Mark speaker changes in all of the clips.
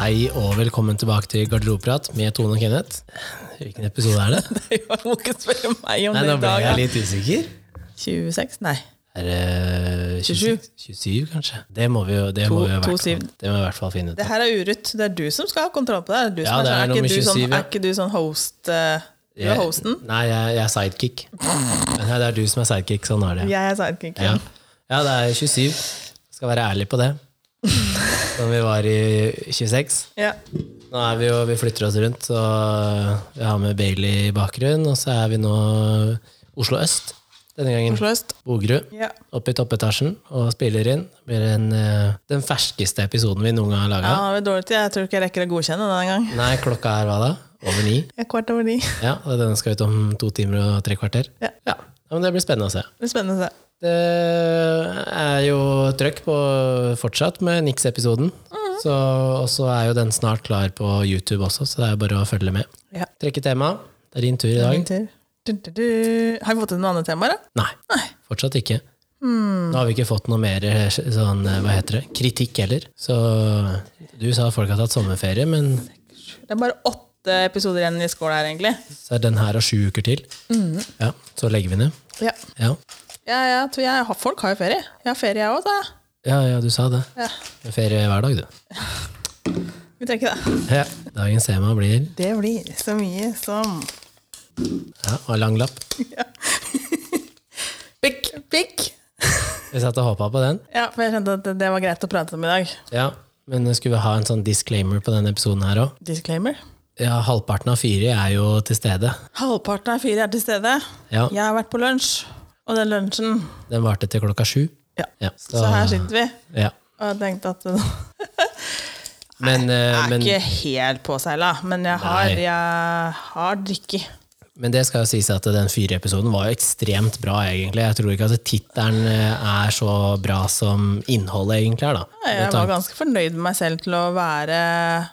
Speaker 1: Hei og velkommen tilbake til Garderobeprat med Tone og Kenneth. Hvilken episode er det?
Speaker 2: Nei, hva må ikke spørre meg om
Speaker 1: Nei,
Speaker 2: det
Speaker 1: Nå
Speaker 2: i
Speaker 1: ble
Speaker 2: dag.
Speaker 1: jeg
Speaker 2: da.
Speaker 1: litt usikker.
Speaker 2: 26? Nei.
Speaker 1: Er det 27? 27, kanskje. Det må vi jo, det
Speaker 2: To-
Speaker 1: må vi jo i hvert
Speaker 2: to
Speaker 1: fall-
Speaker 2: syv.
Speaker 1: det må vi i hvert fall finne ut.
Speaker 2: Det
Speaker 1: av.
Speaker 2: her er Urut. Det er du som skal ha kontroll på det. her. Du
Speaker 1: Ja,
Speaker 2: som
Speaker 1: det
Speaker 2: er,
Speaker 1: er
Speaker 2: sånn, er,
Speaker 1: nummer
Speaker 2: ikke du sånn,
Speaker 1: 27, ja.
Speaker 2: er ikke du sånn host eh, Du er
Speaker 1: Jeg-
Speaker 2: hosten?
Speaker 1: Nei, jeg, jeg er sidekick. Nei, det er du som er sidekick. Sånn er det.
Speaker 2: Jeg er sidekicken.
Speaker 1: Ja, ja det er 27. Skal være ærlig på det. Som vi var i 26.
Speaker 2: Ja.
Speaker 1: Nå er vi jo, vi flytter oss rundt, så vi har med Bailey i bakgrunnen, og så er vi nå Oslo Øst denne gangen.
Speaker 2: Oslo øst.
Speaker 1: Bogerud.
Speaker 2: Ja.
Speaker 1: Oppe i toppetasjen og spiller inn. Det blir en, eh, den ferskeste episoden vi noen gang har
Speaker 2: ja,
Speaker 1: laga.
Speaker 2: nå har vi dårlig tid. Jeg tror ikke jeg rekker å godkjenne den engang.
Speaker 1: Nei, klokka er hva da? Over ni.
Speaker 2: Jeg er Kvart over ni.
Speaker 1: Ja, og denne skal ut om to timer og tre kvarter.
Speaker 2: Ja.
Speaker 1: ja. ja men det blir spennende å se.
Speaker 2: Det blir spennende å se.
Speaker 1: Det er jo trøkk på fortsatt med Nix-episoden.
Speaker 2: Mhm.
Speaker 1: Så, og så er jo den snart klar på YouTube også, så det er bare å følge med.
Speaker 2: Ja.
Speaker 1: Trekke tema. Det er din tur i
Speaker 2: Min
Speaker 1: dag.
Speaker 2: tur. Du, du, du. Har vi fått inn noen andre temaer, da?
Speaker 1: Nei, fortsatt ikke.
Speaker 2: Hmm.
Speaker 1: Nå har vi ikke fått noe mer eh, sånn, eh, hva heter det, kritikk heller. Så du sa at folk har tatt sommerferie, men
Speaker 2: Det er bare åtte episoder igjen i skåla her, egentlig.
Speaker 1: så er den her og sju uker til.
Speaker 2: Mm.
Speaker 1: Ja, så legger vi ned.
Speaker 2: Ja.
Speaker 1: Ja,
Speaker 2: Ja, ja, tror jeg, har- folk har jo ferie. Jeg har ferie, jeg òg, sa jeg.
Speaker 1: ja, ja du sa det.
Speaker 2: Ja.
Speaker 1: Det er Ferie hver dag, du.
Speaker 2: Vi trekker det.
Speaker 1: Ja. Dagens tema blir
Speaker 2: Det blir så mye som
Speaker 1: ja, og lang lapp.
Speaker 2: Pikk! Pikk!
Speaker 1: Vi satt og håpa på den.
Speaker 2: Ja, for jeg skjønte at det- det var greit å prate om i dag.
Speaker 1: Ja, Men skulle vi ha en sånn disclaimer på denne episoden her òg?
Speaker 2: Disclaimer.
Speaker 1: Ja, halvparten av fire er jo til stede.
Speaker 2: Halvparten av fire er til stede.
Speaker 1: Ja,
Speaker 2: Jeg har vært på lunsj, og den lunsjen
Speaker 1: Den varte til klokka sju.
Speaker 2: ja.
Speaker 1: Ja,
Speaker 2: Så her sitter vi.
Speaker 1: ja.
Speaker 2: Og jeg tenkte at det
Speaker 1: Men, eh,
Speaker 2: er
Speaker 1: men
Speaker 2: ikke helt påseila, men jeg har,
Speaker 1: Nei.
Speaker 2: jeg har drikket.
Speaker 1: Men det skal jo sies at den fyreepisoden var jo ekstremt bra, egentlig. Jeg tror ikke at tittelen eh, er så bra som innholdet egentlig er, da.
Speaker 2: Jeg
Speaker 1: Med
Speaker 2: var
Speaker 1: tanke-
Speaker 2: ganske fornøyd med meg selv til å være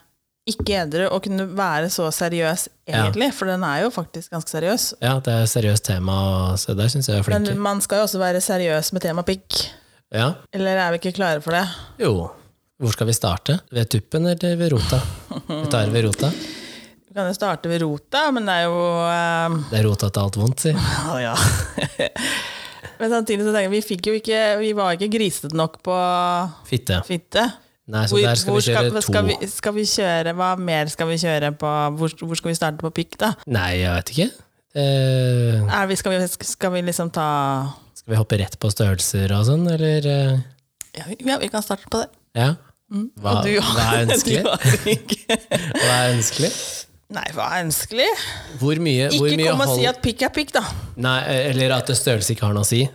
Speaker 2: ikke edru og kunne være så seriøs, egentlig. For den er jo faktisk ganske seriøs.
Speaker 1: Ja, det er et seriøst tema, og så der syns jeg vi er
Speaker 2: Men
Speaker 1: flinke.
Speaker 2: man skal jo også være seriøs med tema pikk.
Speaker 1: Ja.
Speaker 2: Eller er vi ikke klare for det?
Speaker 1: Jo. Hvor skal vi starte? Ved tuppen eller ved rota? Vi tar ved rota.
Speaker 2: Vi kan jo starte ved rota, men det er jo eh,
Speaker 1: Det er rota til alt vondt, si.
Speaker 2: Ja, ja. Men samtidig så tenker jeg, vi fikk jo ikke, vi var ikke grisete nok på
Speaker 1: Fitte.
Speaker 2: fitte.
Speaker 1: Nei, så der skal vi kjøre to.
Speaker 2: skal vi, skal vi kjøre, hva mer skal vi kjøre på, hvor, hvor skal vi starte på pikk da?
Speaker 1: Nei, jeg vet ikke. Eh,
Speaker 2: Er vi, skal, vi, skal vi liksom ta,
Speaker 1: skal vi hoppe rett på størrelser og sånn, eller eh,
Speaker 2: ja, vi- ja vi kan starte på det.
Speaker 1: Ja. Hva,
Speaker 2: Mm. Og du har-
Speaker 1: hva er ønskelig?
Speaker 2: du har ikke.
Speaker 1: Hva er ønskelig?
Speaker 2: Nei, hva er ønskelig?
Speaker 1: Hvor mye, hvor
Speaker 2: Ikke
Speaker 1: mye
Speaker 2: kom og si
Speaker 1: hold-
Speaker 2: at pikk er pikk da.
Speaker 1: Nei, eh, eller at størrelse ikke har noe å si.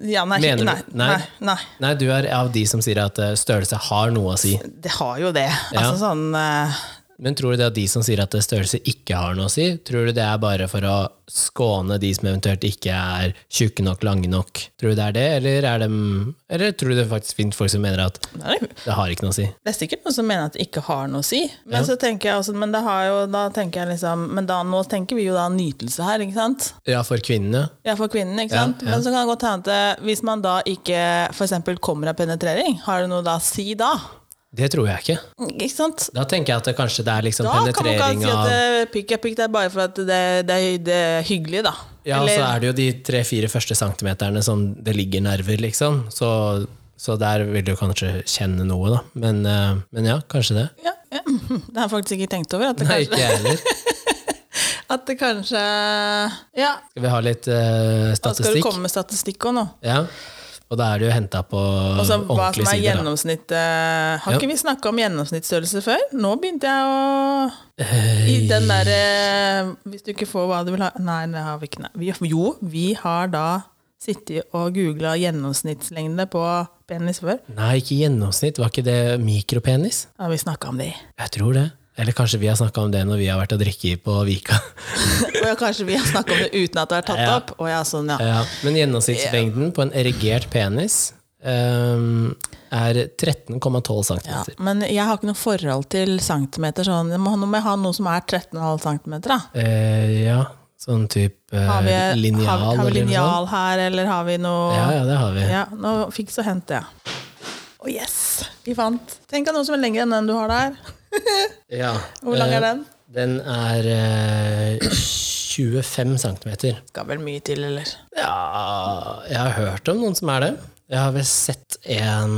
Speaker 2: Ja, nei,
Speaker 1: Mener du-
Speaker 2: nei,
Speaker 1: nei?
Speaker 2: nei, nei.
Speaker 1: Nei, du er av de som sier at eh, størrelse har noe å si.
Speaker 2: Det har jo det. Altså sånn, eh,
Speaker 1: Men tror du det at de som sier at eh, størrelse ikke har noe å si, tror du det er bare for å skåne de som eventuelt ikke er tjukke nok, lange nok? Tror du det er det, eller, er dem, eller tror du det faktisk finnes folk som mener at
Speaker 2: det er jo
Speaker 1: det har ikke noe å si?
Speaker 2: Det er sikkert noen som mener at det ikke har noe å si. Men så tenker jeg også, men det har jo, da tenker jeg liksom, men da, nå tenker vi jo da nytelse her, ikke sant?
Speaker 1: Ja, for kvinnene.
Speaker 2: Ja, for kvinnen, ikke sant?
Speaker 1: ja.
Speaker 2: Men så kan det godt hende at eh, hvis man da ikke for eksempel kommer av penetrering, har det noe da å si da?
Speaker 1: Det tror jeg ikke.
Speaker 2: Ikke sant?
Speaker 1: Da tenker jeg at det kanskje det er liksom
Speaker 2: Da kan man
Speaker 1: penetrering
Speaker 2: kanskje si
Speaker 1: av
Speaker 2: at eh, pikk er pikk, det er bare for at det, det, er, det er hyggelig da.
Speaker 1: Ja,
Speaker 2: Eller-
Speaker 1: så er det jo de tre-fire første centimeterne som det ligger nerver, liksom. Så, så der vil du kanskje kjenne noe, da. Men, eh, men ja, kanskje det.
Speaker 2: Ja, ja. Det har jeg faktisk ikke tenkt over, at det
Speaker 1: Nei,
Speaker 2: kanskje,
Speaker 1: ikke jeg heller.
Speaker 2: at det kanskje ja,
Speaker 1: Skal vi ha litt eh,
Speaker 2: da skal du
Speaker 1: statistikk?
Speaker 2: komme med statistikk også nå.
Speaker 1: Ja. Og da er det jo henta på
Speaker 2: Altså, hva som
Speaker 1: ordentlige
Speaker 2: er
Speaker 1: Sånn sider. Da.
Speaker 2: gjennomsnittet eh, Har
Speaker 1: Ja.
Speaker 2: ikke vi snakka om gjennomsnittsstørrelse før? Nå begynte jeg å I
Speaker 1: Eh,
Speaker 2: den derre Hvis du ikke får hva du vil ha Nei, det har vi ikke. Nei. Vi, jo, vi har da sittet og googla gjennomsnittslengde på penis før.
Speaker 1: Nei, ikke gjennomsnitt. Var ikke det mikropenis?
Speaker 2: Har vi snakka om det?
Speaker 1: Jeg tror det. Eller kanskje vi har snakka om det når vi har vært og drikke på Vika.
Speaker 2: Og ja, kanskje vi har snakka om det uten at det er tatt
Speaker 1: Ja. Eh,
Speaker 2: opp? Å ja, sånn, ja.
Speaker 1: Ja, men gjennomsnittslengden på en erigert penis ehm, er 13,12 cm.
Speaker 2: ja. Men jeg har ikke noe forhold til centimeter. Sånn. Jeg må- Nå må jeg ha noe som er 13,5 cm, da.
Speaker 1: Eh, ja, sånn type eh,
Speaker 2: Har vi,
Speaker 1: linjal.
Speaker 2: har, har vi
Speaker 1: eller noe sånt.
Speaker 2: linjal her, eller har vi noe
Speaker 1: Ja, ja, det har vi.
Speaker 2: Ja, nå fiks og hent det. Å, yes! Vi fant. Tenk at noen som er lengre enn den du har der.
Speaker 1: Ja.
Speaker 2: Hvor lang
Speaker 1: eh,
Speaker 2: er den?
Speaker 1: Den er eh, 25 cm.
Speaker 2: Skal vel mye til, eller?
Speaker 1: Ja Jeg har hørt om noen som er det. Jeg har vel sett en,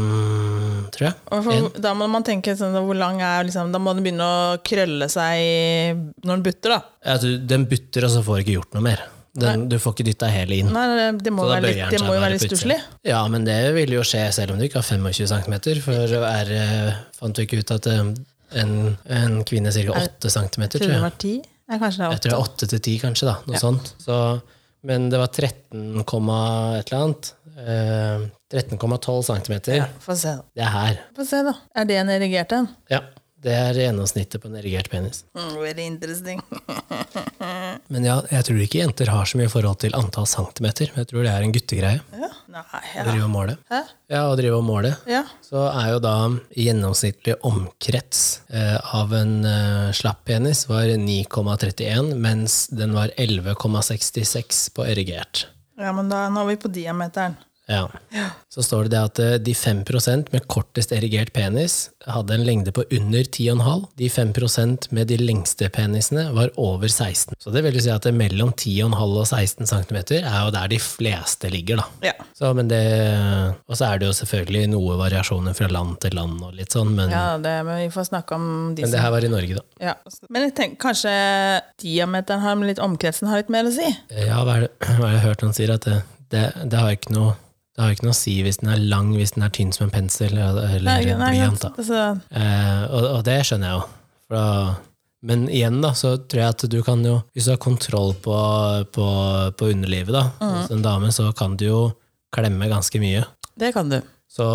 Speaker 1: tror jeg.
Speaker 2: Og for, da må man tenke sånn, hvor lang er liksom, Da må den begynne å krølle seg i- når den butter, da.
Speaker 1: Ja, du, Altså, den butter, og så får du ikke gjort noe mer. Den, du får ikke dytta hele inn.
Speaker 2: Nei, det må
Speaker 1: Så
Speaker 2: jo
Speaker 1: da
Speaker 2: være
Speaker 1: bøyer
Speaker 2: litt,
Speaker 1: den
Speaker 2: det
Speaker 1: seg
Speaker 2: må jo
Speaker 1: bare
Speaker 2: være litt
Speaker 1: på utsiden.
Speaker 2: stusslig.
Speaker 1: Ja, men det vil jo skje selv om du ikke har 25 cm, for det er, eh, fant du ikke ut at eh, en, en kvinne er ca. 8 cm,
Speaker 2: Tror du
Speaker 1: tror
Speaker 2: det
Speaker 1: jeg.
Speaker 2: var ti? Nei, kanskje det
Speaker 1: Jeg
Speaker 2: er
Speaker 1: tror det
Speaker 2: åtte.
Speaker 1: er 8 til 10, kanskje. da, noe sånt. Så, men det var 13, komma et eller annet. Eh, 13,12 cm.
Speaker 2: Få se, da.
Speaker 1: Det er her.
Speaker 2: Få se, da. Er det en erigert en?
Speaker 1: Ja. Det er gjennomsnittet på en erigert penis.
Speaker 2: Mm, very interesting.
Speaker 1: Men ja, jeg tror ikke jenter har så mye forhold til antall centimeter. Jeg tror det er en guttegreie.
Speaker 2: Ja. Nei,
Speaker 1: å
Speaker 2: ja.
Speaker 1: Drive og måle.
Speaker 2: Hæ?
Speaker 1: Ja, å drive og måle.
Speaker 2: Ja.
Speaker 1: Så er jo da gjennomsnittlig omkrets eh, av en eh, slapp penis var 9,31, mens den var 11,66 på erigert.
Speaker 2: ja, men da nå er vi på diameteren.
Speaker 1: Ja. Så står det det at eh, de 5 med kortest erigert penis hadde en lengde på under 10,5. De 5 med de lengste penisene var over 16. Så det vil jo si at det mellom 10,5 og 16 cm er jo der de fleste ligger, da.
Speaker 2: Ja.
Speaker 1: Så, men det, og så er det jo selvfølgelig noe variasjoner fra land til land og litt sånn, men,
Speaker 2: ja det, men vi får snakke om de
Speaker 1: men det
Speaker 2: som
Speaker 1: her var i Norge, da.
Speaker 2: ja. Men jeg tenker kanskje diameteren har litt omkretsen har litt mer å si?
Speaker 1: Ja, hva er det, hva er det jeg har hørt noen sier? At det, det, det har ikke noe det har ikke noe å si hvis den er lang, hvis den er tynn som en pensel eller, eller en blyant. da.
Speaker 2: altså,
Speaker 1: Eh, og, og det skjønner jeg jo. For da, men igjen, da, så tror jeg at du kan jo Hvis du har kontroll på, på, på underlivet da,
Speaker 2: Mm.
Speaker 1: hos en dame, så kan du jo klemme ganske mye.
Speaker 2: det kan du.
Speaker 1: Så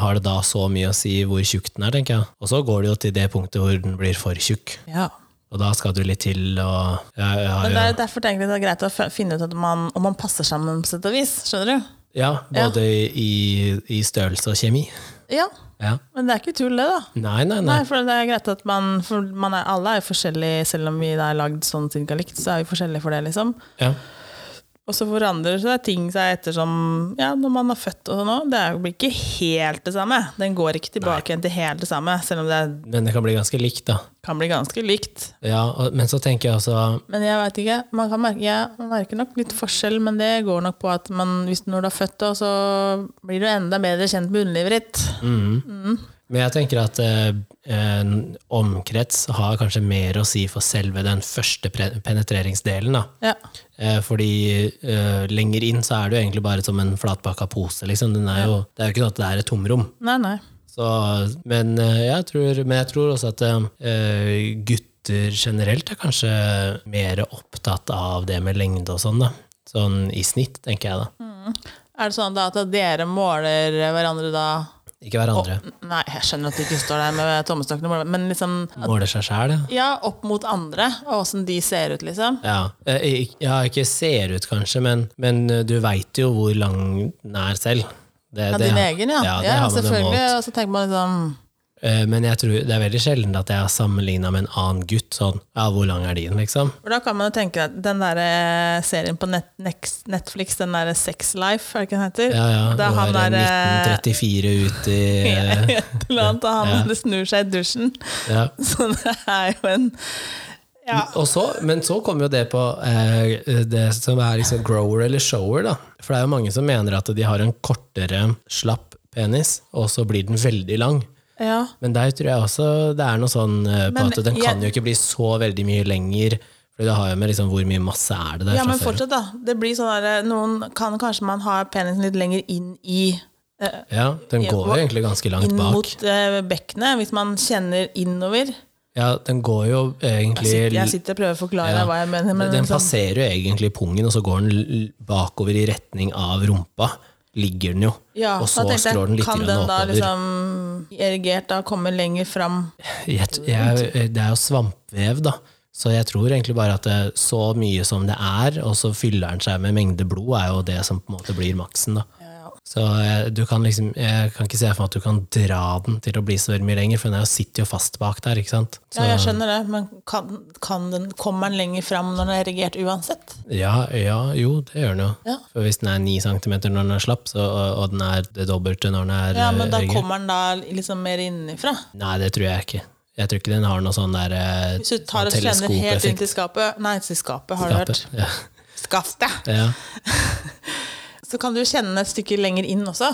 Speaker 1: har det da så mye å si hvor tjukk den er, tenker jeg. Og så går det jo til det punktet hvor den blir for tjukk.
Speaker 2: Ja.
Speaker 1: Og da skal du litt til, og ja, ja,
Speaker 2: Men det
Speaker 1: ja.
Speaker 2: er, derfor tenker jeg det er greit å f- finne ut at man, om man passer sammen på sett og vis. Skjønner du?
Speaker 1: ja både I, i størrelse og kjemi.
Speaker 2: Ja.
Speaker 1: Ja.
Speaker 2: Men det er ikke tull, det, da.
Speaker 1: Nei, nei, nei.
Speaker 2: Nei, for det er greit at man, for man er, Alle er jo forskjellige, selv om vi da er lagd sånn cirka likt, så er vi forskjellige for det, liksom.
Speaker 1: Ja.
Speaker 2: Og så forandrer det seg ting seg etter som ja, når man er født og sånn òg. Det er jo- blir ikke helt det samme. Den går ikke tilbake igjen til helt det samme, selv om det er-
Speaker 1: Men det kan bli ganske likt, da.
Speaker 2: kan bli ganske likt.
Speaker 1: Ja, og, men så tenker jeg også
Speaker 2: Men jeg veit ikke. Man, kan merke, ja, man merker nok litt forskjell, men det går nok på at man, hvis når du er født, da, så blir du enda bedre kjent med underlivet ditt.
Speaker 1: Mm. Men jeg tenker at eh, en omkrets har kanskje mer å si for selve den første pre- penetreringsdelen. Da.
Speaker 2: Ja.
Speaker 1: Eh, fordi eh, lenger inn så er det jo egentlig bare som en flatpakka pose. Liksom. Den er jo, det er jo ikke sånn at det er et tomrom.
Speaker 2: Nei, nei.
Speaker 1: Så, men, eh, jeg tror, men jeg tror også at eh, gutter generelt er kanskje mer opptatt av det med lengde og sånn. Da. Sånn i snitt, tenker jeg
Speaker 2: Mm.
Speaker 1: da.
Speaker 2: Er det sånn da at dere måler hverandre da
Speaker 1: Ikke hverandre.
Speaker 2: Nei, jeg skjønner at du ikke står der med tommestokken, og måler, men liksom
Speaker 1: Måler seg sjæl, ja.
Speaker 2: Ja, opp mot andre, og åssen de ser ut, liksom.
Speaker 1: Ja. Eh, ik- ja, ikke ser ut kanskje, men, men eh, du veit jo hvor lang den er selv. Det,
Speaker 2: Ja,
Speaker 1: det-
Speaker 2: din egen, ja.
Speaker 1: Ja,
Speaker 2: ja,
Speaker 1: det har man jo
Speaker 2: selvfølgelig.
Speaker 1: målt.
Speaker 2: Og så tenker man liksom
Speaker 1: Eh, Men jeg tror det er veldig sjelden at jeg har sammenligna med en annen gutt. Sånn, ja, hvor lang er din, liksom?
Speaker 2: For da kan man jo tenke at den der eh, serien på net Nex- Netflix, den der Sex Life, er det ikke den heter?
Speaker 1: Ja, ja,
Speaker 2: Da
Speaker 1: hvor
Speaker 2: han
Speaker 1: er
Speaker 2: er eh,
Speaker 1: 1934 ut i eh,
Speaker 2: Et eller annet, og han det snur seg i dusjen.
Speaker 1: ja.
Speaker 2: Så det er jo en Ja.
Speaker 1: Og så, men så kommer jo det på eh, det som er liksom grower eller shower, da. For det er jo mange som mener at de har en kortere, slapp penis, og så blir den veldig lang.
Speaker 2: ja.
Speaker 1: Men der tror jeg også det er noe sånn eh, på
Speaker 2: Men
Speaker 1: at den
Speaker 2: jeg-
Speaker 1: kan jo ikke bli så veldig mye lenger. For det har jo med liksom hvor mye masse er det der
Speaker 2: Ja, men
Speaker 1: fra før.
Speaker 2: fortsatt, da. Det blir sånn der, Noen kan kanskje man har penisen litt lenger inn i eh,
Speaker 1: Ja, den
Speaker 2: Ja,
Speaker 1: går jo
Speaker 2: hva-
Speaker 1: egentlig ganske langt
Speaker 2: Inn
Speaker 1: bak.
Speaker 2: mot eh, bekkenet, hvis man kjenner innover.
Speaker 1: Ja, den går jo egentlig
Speaker 2: Sitter, jeg sitter og prøver å forklare deg hva jeg mener. Men
Speaker 1: Den
Speaker 2: liksom,
Speaker 1: passerer jo egentlig pungen, og så går den l- bakover i retning av rumpa. Ligger den jo.
Speaker 2: ja,
Speaker 1: og så
Speaker 2: da tenkte jeg,
Speaker 1: skrår den litt
Speaker 2: Kan
Speaker 1: grann
Speaker 2: den da
Speaker 1: oppover.
Speaker 2: liksom erigert da komme lenger fram?
Speaker 1: Jeg, jeg, eh, det er jo svampvev, da. Så jeg tror egentlig bare at det, så mye som det er, og så fyller den seg med mengde blod, er jo det som på en måte blir maksen. da.
Speaker 2: Ja, ja.
Speaker 1: Så jeg, du kan liksom, jeg kan ikke se for meg at du kan dra den til å bli så veldig mye lenger, for den er jo- sitter jo fast bak der. ikke sant? Så,
Speaker 2: Ja, jeg skjønner det, men kan, kan den, kommer den lenger fram når den er erigert uansett?
Speaker 1: Ja, ja, jo, det gjør den jo.
Speaker 2: Ja.
Speaker 1: For hvis den er 9 cm når den er slapp, så, og, og den er det dobbelte når den er
Speaker 2: Ja, men da
Speaker 1: eh, erigert.
Speaker 2: kommer den da liksom mer innenfra.
Speaker 1: Nei, det tror jeg ikke. Jeg tror ikke den har noe sånn der eh,
Speaker 2: Hvis du tar og
Speaker 1: sånn
Speaker 2: slender helt inn
Speaker 1: teleskopeffekt.
Speaker 2: til skapet Nei, til skapet, har du hørt.
Speaker 1: Ja.
Speaker 2: Skaftet!
Speaker 1: Ja.
Speaker 2: Så kan du kjenne et stykke lenger inn også.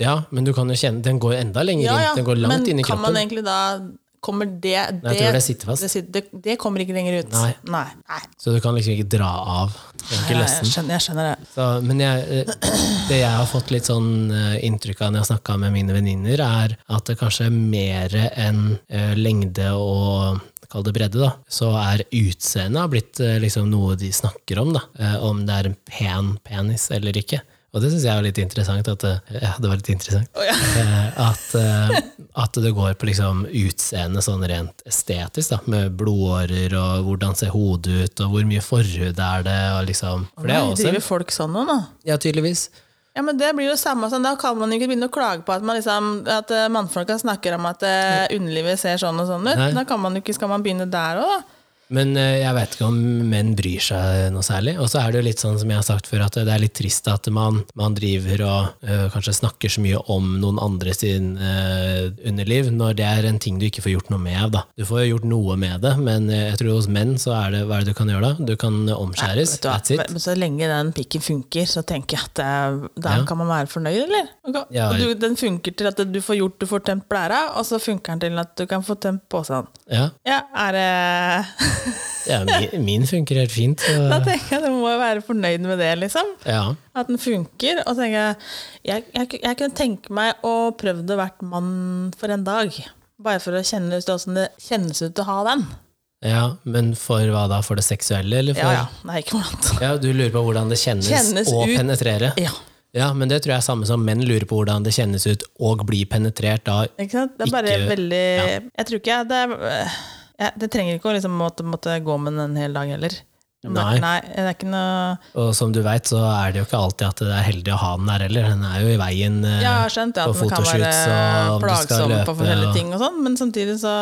Speaker 1: ja, men du kan jo kjenne Den går enda lenger
Speaker 2: Ja, ja.
Speaker 1: inn. Den går langt
Speaker 2: Men
Speaker 1: inn i
Speaker 2: kan man
Speaker 1: kroppen.
Speaker 2: egentlig da Kommer det det,
Speaker 1: Nei, jeg tror det sitter fast.
Speaker 2: det sit- det, det kommer ikke lenger ut.
Speaker 1: Nei.
Speaker 2: Nei. Nei.
Speaker 1: Så du kan liksom ikke dra av. Du kan ikke
Speaker 2: Nei,
Speaker 1: løsne
Speaker 2: jeg,
Speaker 1: den.
Speaker 2: skjønner, jeg skjønner det.
Speaker 1: Så, men jeg, eh, det jeg har fått litt sånn eh, inntrykk av når jeg har snakka med mine venninner, er at det kanskje er mer enn eh, lengde og kall det bredde, da, så er utseendet blitt eh, liksom noe de snakker om. da, eh, Om det er en pen penis eller ikke. Og det syns jeg er litt interessant. At, eh, ja, det var litt interessant. Eh, At, eh, at det går på liksom utseendet sånn rent estetisk, da, med blodårer og hvordan ser hodet ut, og hvor mye forhud er det, og liksom For det er
Speaker 2: Nei,
Speaker 1: også en
Speaker 2: driver folk sånn nå, nå?
Speaker 1: ja, tydeligvis.
Speaker 2: Ja, men det blir jo samme som Da kan man jo ikke begynne å klage på at, man liksom, at eh, mannfolka snakker om at eh, underlivet ser sånn og sånn ut.
Speaker 1: Nei.
Speaker 2: Da kan man jo ikke, skal man begynne der òg, da?
Speaker 1: Men eh, jeg vet ikke om menn bryr seg noe særlig. Og så er det jo litt sånn som jeg har sagt før, at det er litt trist at man, man driver og eh, kanskje snakker så mye om noen andre sin eh, underliv, når det er en ting du ikke får gjort noe med. da. Du får jo gjort noe med det, men eh, jeg tror hos menn så er det hva er det du kan gjøre da? Du kan omskjæres.
Speaker 2: Vet du hva?
Speaker 1: That's it.
Speaker 2: Men så lenge den pikken funker, så tenker jeg at eh, da
Speaker 1: Ja.
Speaker 2: kan man være fornøyd, eller? Og kan-
Speaker 1: Ja,
Speaker 2: og du, den funker til at du får gjort, du får tømt blæra, og så funker den til at du kan få tømt posen.
Speaker 1: Ja,
Speaker 2: Ja, er det
Speaker 1: ja min, min funker helt fint.
Speaker 2: Da
Speaker 1: Så,
Speaker 2: tenker jeg du må være fornøyd med det, liksom.
Speaker 1: ja.
Speaker 2: At den funker. Og så tenker jeg, jeg, jeg, jeg kunne tenke meg å prøve det hvert mann for en dag. Bare for å kjenne ut hvordan det kjennes ut å ha den.
Speaker 1: ja, men for hva da? For det seksuelle, eller for
Speaker 2: Ja, ja. Nei, ikke for noe annet.
Speaker 1: Ja, Du lurer på hvordan det kjennes,
Speaker 2: Kjennes
Speaker 1: å
Speaker 2: ut.
Speaker 1: penetrere?
Speaker 2: Ja.
Speaker 1: Ja, men det tror jeg er samme som menn lurer på hvordan det kjennes ut og bli penetrert da.
Speaker 2: Ikke sant? Det er bare
Speaker 1: Ikke-
Speaker 2: veldig Jeg tror ikke jeg det, er- jeg det trenger ikke å liksom måtte, måtte gå med den en hel dag heller. Men-
Speaker 1: Nei.
Speaker 2: Nei, det er ikke noe
Speaker 1: Og som du veit, så er det jo ikke alltid at det er heldig å ha den der heller. Den er jo i veien. eh,
Speaker 2: Ja, jeg har skjønt ja,
Speaker 1: og
Speaker 2: at den kan
Speaker 1: fotoshoots, og
Speaker 2: være
Speaker 1: om du skal
Speaker 2: plagsom på
Speaker 1: løpe,
Speaker 2: forskjellige
Speaker 1: og-
Speaker 2: ting og sånn, men samtidig så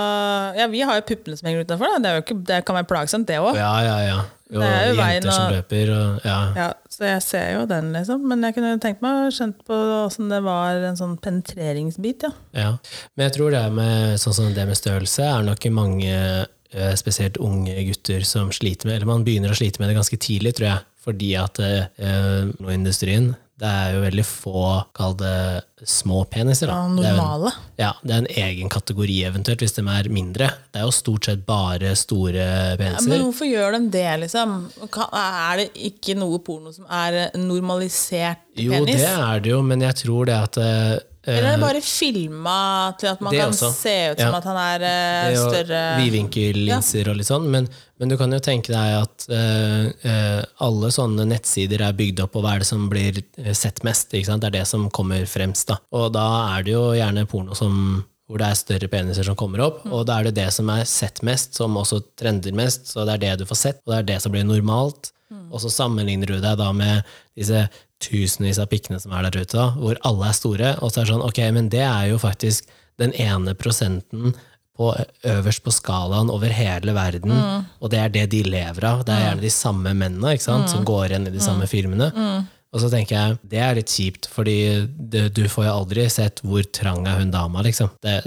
Speaker 2: Ja, vi har jo puppene som henger utenfor, da. Det, er jo ikke, det kan være plagsomt, det òg.
Speaker 1: Ja, ja, ja. Og
Speaker 2: Det er jo veien
Speaker 1: jenter som
Speaker 2: å-
Speaker 1: løper og ja.
Speaker 2: Ja, så jeg ser jo den, liksom. Men jeg kunne tenkt meg å skjønt på åssen det var en sånn penetreringsbit, ja.
Speaker 1: Ja. Men jeg tror det med, sånn som det med størrelse er nok mange, eh, spesielt unge gutter, som sliter med Eller man begynner å slite med det ganske tidlig, tror jeg. Fordi at eh, nå i industrien det er jo veldig få, kall det små peniser. Da.
Speaker 2: Ja,
Speaker 1: Det er jo-
Speaker 2: normale.
Speaker 1: Ja, det er en egen kategori eventuelt, hvis de er mindre. Det er jo stort sett bare store
Speaker 2: Ja, men
Speaker 1: peniser.
Speaker 2: hvorfor gjør de det, liksom? Kan- Er det ikke noe porno som er eh, normalisert
Speaker 1: Jo,
Speaker 2: penis?
Speaker 1: det er det jo, men jeg tror det at eh, eh,
Speaker 2: Eller er det bare filma til at man
Speaker 1: Det
Speaker 2: kan
Speaker 1: også.
Speaker 2: se ut
Speaker 1: Ja.
Speaker 2: som at han er eh,
Speaker 1: det er jo
Speaker 2: større
Speaker 1: Vidvinkellinser og litt sånn. Men, men du kan jo tenke deg at eh, eh, alle sånne nettsider er bygd opp på hva er det som blir eh, sett mest. Ikke sant? Det er det som kommer fremst. Da. Og da er det jo gjerne porno som hvor det er større peniser som kommer opp, og da er det det som er sett mest, som også trender mest, så det er det du får sett, og det er det som blir normalt. Og så sammenligner du deg da med disse tusenvis av pikkene som er der ute, da, hvor alle er store, og så er det sånn, ok, men det er jo faktisk den ene prosenten på, øverst på skalaen over hele verden,
Speaker 2: Mm.
Speaker 1: og det er det de lever av. Det er gjerne de samme mennene ikke sant,
Speaker 2: Mm.
Speaker 1: som går igjen i de samme filmene. Og så tenker jeg, det er litt kjipt, fordi det, du får jo aldri sett hvor trang er hun dama, liksom. Det,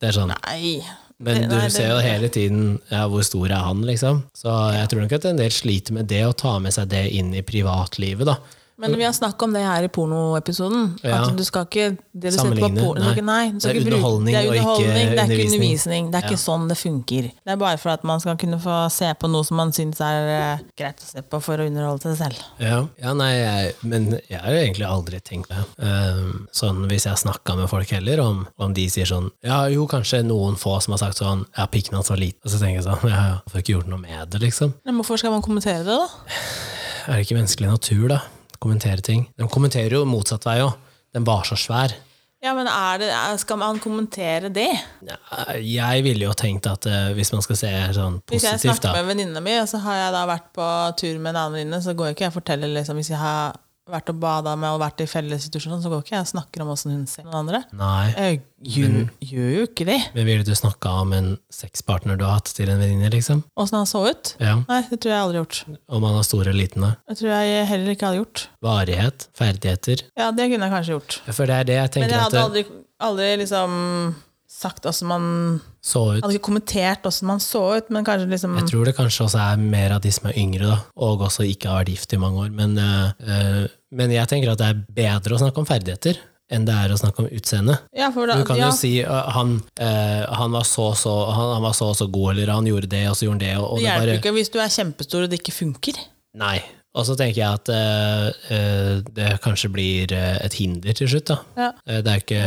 Speaker 1: det er sånn.
Speaker 2: Nei.
Speaker 1: Men
Speaker 2: Det- nei,
Speaker 1: du
Speaker 2: det-
Speaker 1: ser jo hele tiden ja, hvor stor er han, liksom. Så jeg tror nok at en del sliter med det, å ta med seg det inn i privatlivet, da.
Speaker 2: Men vi har snakket om det her i pornoepisoden.
Speaker 1: Ja.
Speaker 2: At du skal ikke det du setter på
Speaker 1: Sammenligne,
Speaker 2: porno, du skal ikke- nei. du skal
Speaker 1: Det er
Speaker 2: ikke bruke-
Speaker 1: underholdning
Speaker 2: det er
Speaker 1: og ikke
Speaker 2: underholdning, Det er ikke
Speaker 1: undervisning.
Speaker 2: undervisning. Det er ikke sånn det funker. Det er bare for at man skal kunne få se på noe som man syns er eh, greit å se på for å underholde seg selv.
Speaker 1: Ja, ja nei, jeg, men jeg har jo egentlig aldri tenkt det. Ehm, sånn hvis jeg snakka med folk heller, om, om de sier sånn Ja, jo, kanskje noen få som har sagt sånn Ja, pikken hans var liten. Og så tenker jeg sånn Ja, ja, får ikke gjort noe med det, liksom.
Speaker 2: Men hvorfor skal man kommentere det, da?
Speaker 1: Er det ikke menneskelig natur, da? Kommentere ting. De kommenterer jo motsatt vei òg. Den var så svær.
Speaker 2: Ja, men er det, er- Skal man kommentere det?
Speaker 1: Ja, Jeg ville jo tenkt at eh, hvis man skal se sånn
Speaker 2: Hvis jeg
Speaker 1: positivt,
Speaker 2: snakker
Speaker 1: da
Speaker 2: med venninna mi, og så har jeg da vært på tur med en annen venninne, så går ikke jeg og forteller liksom, hvis jeg har vært og bada med og vært i fellesinstitusjon, så går ikke jeg og snakker om åssen hun ser noen andre.
Speaker 1: Nei.
Speaker 2: Jeg gjør, gjør jo ikke det.
Speaker 1: Men ville du snakka om en sexpartner du har hatt til en venninne, liksom?
Speaker 2: Åssen han så ut?
Speaker 1: Ja.
Speaker 2: Nei, det tror jeg aldri har gjort.
Speaker 1: Om han har stor eller liten, da?
Speaker 2: Det tror jeg heller ikke hadde gjort.
Speaker 1: Varighet? Ferdigheter?
Speaker 2: Ja, det kunne jeg kanskje gjort.
Speaker 1: For det er det jeg
Speaker 2: Men
Speaker 1: tenker
Speaker 2: jeg
Speaker 1: at
Speaker 2: hadde
Speaker 1: det
Speaker 2: aldri, aldri liksom sagt åssen man
Speaker 1: så ut.
Speaker 2: Hadde ikke kommentert åssen man så ut, men kanskje liksom
Speaker 1: Jeg tror det kanskje også er mer av de som er yngre, da, og også ikke har vært gift i mange år. Men, eh, eh, men jeg tenker at det er bedre å snakke om ferdigheter enn det er å snakke om utseende.
Speaker 2: Ja, for da,
Speaker 1: Du kan
Speaker 2: ja,
Speaker 1: jo si eh, han, eh, han, var så, så, han, han var så og så god, eller han gjorde det, og så gjorde han det, og, og
Speaker 2: det
Speaker 1: det
Speaker 2: hjelper
Speaker 1: bare
Speaker 2: ikke hvis du er kjempestor og det ikke funker.
Speaker 1: Nei. Og så tenker jeg at eh, eh, det kanskje blir eh, et hinder til slutt, da.
Speaker 2: Ja.
Speaker 1: Eh, Det er jo ikke,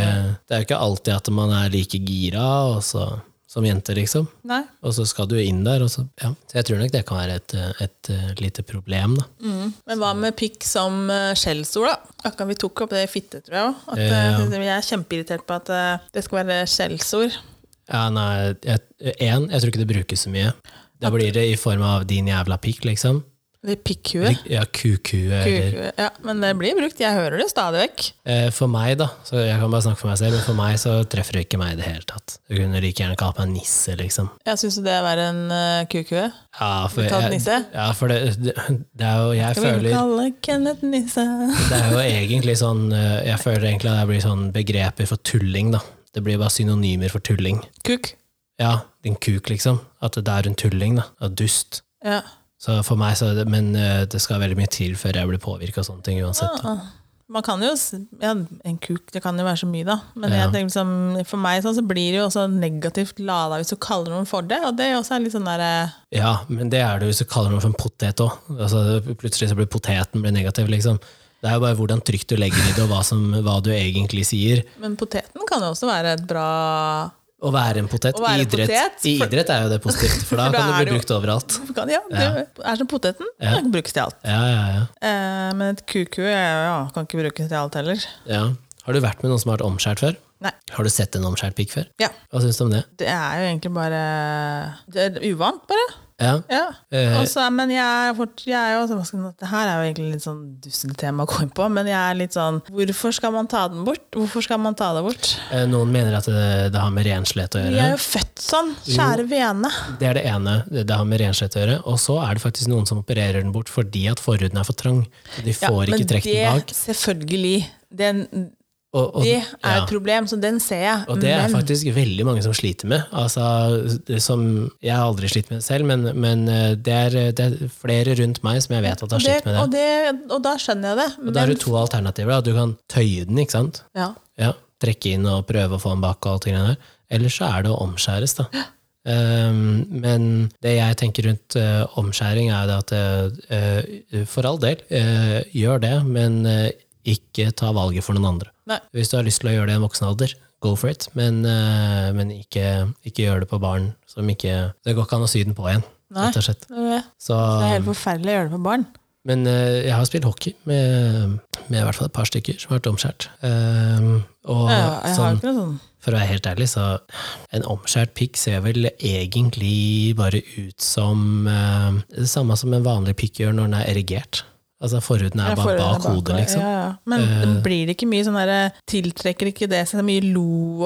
Speaker 1: det er jo ikke alltid at man er like gira og så- som jente, liksom.
Speaker 2: Nei.
Speaker 1: Og så skal du inn der. Og så, ja. så jeg tror nok det kan være et, eh, et eh, lite problem, da.
Speaker 2: Men hva med pikk som eh, skjellsord, da? Akkurat vi tok opp det i fitte, tror jeg òg.
Speaker 1: Ja.
Speaker 2: Jeg er kjempeirritert på at eh, det skal være skjellsord.
Speaker 1: Ja, nei, jeg, en, jeg tror ikke det brukes så mye. Da blir det i form av din jævla pikk, liksom.
Speaker 2: Eller pikkhue.
Speaker 1: Ja, kuku eller
Speaker 2: Kukhue. Ja, men det blir brukt. Jeg hører det stadig vekk.
Speaker 1: Eh, For meg, da, så jeg kan bare snakke for meg selv, men for meg så treffer det ikke meg i det hele tatt. Du kunne like gjerne kalt meg nisse, liksom.
Speaker 2: Jeg syns det er verre enn uh, kukhue.
Speaker 1: Ja, for,
Speaker 2: Du kalte
Speaker 1: jeg-
Speaker 2: nisse?
Speaker 1: Ja, for det, det, det er jo Jeg
Speaker 2: Skal vi
Speaker 1: føler
Speaker 2: kalle Kenneth Nisse?
Speaker 1: Det er jo egentlig sånn eh, Jeg føler egentlig at det blir sånn begreper for tulling, da. Det blir bare synonymer for tulling.
Speaker 2: Kuk.
Speaker 1: Ja, din kuk, liksom. At det er en tulling, da. Og dust.
Speaker 2: Ja.
Speaker 1: Så for meg så er det, Men eh, det skal veldig mye til før jeg blir påvirka av sånne ting uansett.
Speaker 2: Ah.
Speaker 1: Da.
Speaker 2: Man kan jo s- ja, En kuk, det kan jo være så mye, da. Men
Speaker 1: Ja.
Speaker 2: jeg tenker liksom, for meg sånn, så blir det jo også negativt lada hvis du kaller noen for det. Og det er også litt sånn der eh,
Speaker 1: Ja, men det er det hvis du kaller noe for en potet òg. Altså, plutselig så blir poteten blir negativ, liksom. Det er jo bare hvordan trygt du legger i det, og hva, som, hva du egentlig sier.
Speaker 2: Men poteten kan jo også være et bra
Speaker 1: Å være en potet,
Speaker 2: Å
Speaker 1: i
Speaker 2: være en
Speaker 1: idrett,
Speaker 2: potet,
Speaker 1: I
Speaker 2: for-
Speaker 1: idrett er jo det positivt, for da
Speaker 2: For
Speaker 1: kan
Speaker 2: da
Speaker 1: det
Speaker 2: er
Speaker 1: bli
Speaker 2: det
Speaker 1: brukt overalt.
Speaker 2: Ja, det er som poteten. Den kan brukes til alt.
Speaker 1: Ja, ja, ja.
Speaker 2: Eh, men et kuku ja, kan ikke brukes til alt heller.
Speaker 1: Ja. Har du vært med noen som har vært omskjært før?
Speaker 2: Nei.
Speaker 1: Har du sett en omskjært pikk før?
Speaker 2: Ja.
Speaker 1: Hva syns du om det?
Speaker 2: Det er jo egentlig bare Det er uvant, bare.
Speaker 1: Ja.
Speaker 2: Ja.
Speaker 1: Eh,
Speaker 2: Og så- men jeg er, fort, jeg er jo også- hva skal man- Det her er jo egentlig litt sånn dusselig tema å gå inn på, men jeg er litt sånn Hvorfor skal man ta den bort? Hvorfor skal man ta det bort?
Speaker 1: eh, noen mener at det, det har med renslighet å
Speaker 2: Vi
Speaker 1: gjøre.
Speaker 2: er jo født sånn! Kjære vene.
Speaker 1: Det er det ene. Det, det har med renslighet å gjøre. Og så er det faktisk noen som opererer den bort fordi at forhuden er for trang. Så de får
Speaker 2: men
Speaker 1: ikke trukket den
Speaker 2: det,
Speaker 1: bak.
Speaker 2: selvfølgelig. Den,
Speaker 1: Og, og,
Speaker 2: det er
Speaker 1: ja.
Speaker 2: et problem, så den ser jeg.
Speaker 1: Og det er
Speaker 2: men
Speaker 1: faktisk veldig mange som sliter med. Altså, det som, jeg har aldri slitt med det selv, men, men eh, det, er, det er flere rundt meg som jeg vet at har
Speaker 2: det,
Speaker 1: slitt med det.
Speaker 2: og, det, og da skjønner jeg det.
Speaker 1: Og da har
Speaker 2: men-
Speaker 1: du to alternativer. Da. Du kan tøye den, ikke sant?
Speaker 2: ja.
Speaker 1: Ja, trekke inn og prøve å få den bak og alt det greiene der. Ellers så er det å omskjæres, da. Um, men det jeg tenker rundt eh, omskjæring, er jo det at eh, For all del, eh, gjør det, men eh, ikke ta valget for noen andre.
Speaker 2: Nei.
Speaker 1: Hvis du har lyst til å gjøre det i en voksen alder, go for it, men, eh, men ikke, ikke gjør det på barn som ikke Det går ikke an å sy den på igjen,
Speaker 2: Nei.
Speaker 1: rett og slett.
Speaker 2: Det
Speaker 1: Så,
Speaker 2: er helt
Speaker 1: Um,
Speaker 2: forferdelig å gjøre det for barn.
Speaker 1: men eh, jeg har spilt hockey med, med i hvert fall et par stykker som har vært omskjært. Um, og
Speaker 2: Ja, jeg har
Speaker 1: sånn
Speaker 2: ikke noe sånn.
Speaker 1: for å være helt ærlig, så en omskjært pikk ser vel egentlig bare ut som eh, det samme som en vanlig pikk gjør når den er erigert. Altså forhuden er
Speaker 2: Jeg
Speaker 1: bare
Speaker 2: får øynene
Speaker 1: bak hodet,
Speaker 2: meg.
Speaker 1: liksom.
Speaker 2: Ja, ja. Men blir det ikke mye sånn der Tiltrekker ikke det seg mye lo og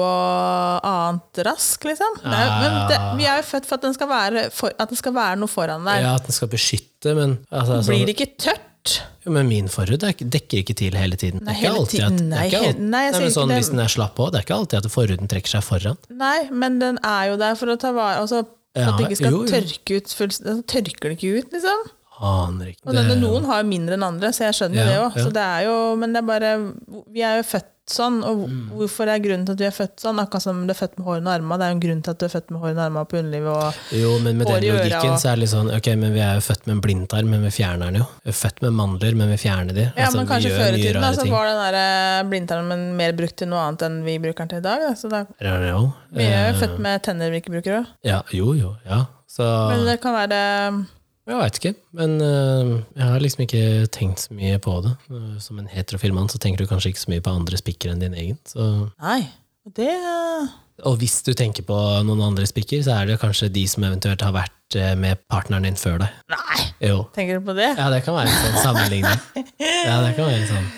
Speaker 2: annet rask, liksom? Det er, men det, vi er jo født for at den skal være, for, at det skal være noe foran der.
Speaker 1: Ah. Ja, at den skal beskytte, men altså, altså,
Speaker 2: Blir det ikke tørt?
Speaker 1: jo, Men min forhud er ikke- dekker ikke til hele tiden. det er
Speaker 2: Nei,
Speaker 1: ikke
Speaker 2: hele
Speaker 1: alltid
Speaker 2: tiden.
Speaker 1: at, det
Speaker 2: Nei,
Speaker 1: er ikke
Speaker 2: he-
Speaker 1: alt-
Speaker 2: nei, jeg
Speaker 1: Nei,
Speaker 2: sier
Speaker 1: men
Speaker 2: ikke
Speaker 1: sånn,
Speaker 2: det.
Speaker 1: Hvis den er slapp på, det er ikke alltid at forhuden trekker seg foran.
Speaker 2: Nei, men den er jo der for å ta vare altså,
Speaker 1: Ja,
Speaker 2: At det ikke skal
Speaker 1: jo, jo.
Speaker 2: tørke ut fullst- altså, Tørker det ikke ut, liksom?
Speaker 1: Aner ikke.
Speaker 2: Og denne,
Speaker 1: Det-
Speaker 2: noen har jo mindre enn andre, så jeg
Speaker 1: Ja,
Speaker 2: skjønner det òg.
Speaker 1: ja.
Speaker 2: Så det er jo Men det er bare Vi er jo født sånn, og hvor-
Speaker 1: Mm.
Speaker 2: hvorfor er grunnen til at vi er født sånn? Akkurat som du er født med hårene og armene. Det er jo en grunn til at du er født med hårene og armene på underlivet. og
Speaker 1: Jo, men med
Speaker 2: Hår
Speaker 1: den
Speaker 2: i øra
Speaker 1: logikken
Speaker 2: og-
Speaker 1: så er det litt sånn Ok, men vi er jo født med en blindtarm, men vi fjerner den jo. Vi er født med mandler, men vi fjerner de.
Speaker 2: Ja,
Speaker 1: Altså,
Speaker 2: men
Speaker 1: vi
Speaker 2: kanskje
Speaker 1: gjør
Speaker 2: før i
Speaker 1: mye
Speaker 2: tiden da,
Speaker 1: rare
Speaker 2: så
Speaker 1: ting.
Speaker 2: var den der eh, blindtarmen mer brukt til noe annet enn vi bruker den til i dag. Da. Så det er
Speaker 1: Er det jo?
Speaker 2: vi er jo
Speaker 1: Eh,
Speaker 2: født med tenner vi ikke bruker òg.
Speaker 1: Ja, jo, jo, ja. Så
Speaker 2: Men det kan være
Speaker 1: Jeg veit ikke. Men eh, jeg har liksom ikke tenkt så mye på det. Eh, som en heterofil mann så tenker du kanskje ikke så mye på andres pikker enn din egen. Så
Speaker 2: Nei. og Det
Speaker 1: Og hvis du tenker på noen andre spikker, så er det kanskje de som eventuelt har vært eh, med partneren din før deg.
Speaker 2: Nei!
Speaker 1: Jo.
Speaker 2: Tenker du på det?
Speaker 1: Ja, det kan være en sånn sammenligning. Ja, det kan være en sånn.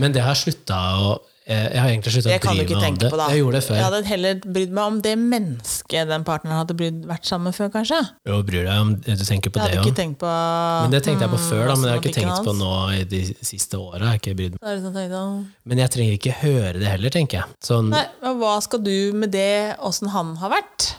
Speaker 1: Men det har jeg slutta å eh, Jeg har egentlig slutta
Speaker 2: Det
Speaker 1: å
Speaker 2: kan du
Speaker 1: drive
Speaker 2: ikke
Speaker 1: med om
Speaker 2: tenke
Speaker 1: det.
Speaker 2: på, da.
Speaker 1: Jeg gjorde det før.
Speaker 2: Jeg hadde heller brydd meg om det mennesket den partneren hadde brydd, vært sammen med før, kanskje.
Speaker 1: Jo, bryr deg om du tenker på det
Speaker 2: Jeg hadde
Speaker 1: òg.
Speaker 2: ikke tenkt altså, på Mm,
Speaker 1: Men det tenkte jeg på før, da, men jeg har ikke
Speaker 2: Hvordan var
Speaker 1: tenkt på
Speaker 2: pikken
Speaker 1: nå i de siste åra. Jeg har ikke brydd meg.
Speaker 2: Da er det sånn, tenkte han,
Speaker 1: Men jeg trenger ikke høre det heller, tenker jeg. Sånn, nei.
Speaker 2: Nei, men hva skal du med det, åssen han har vært?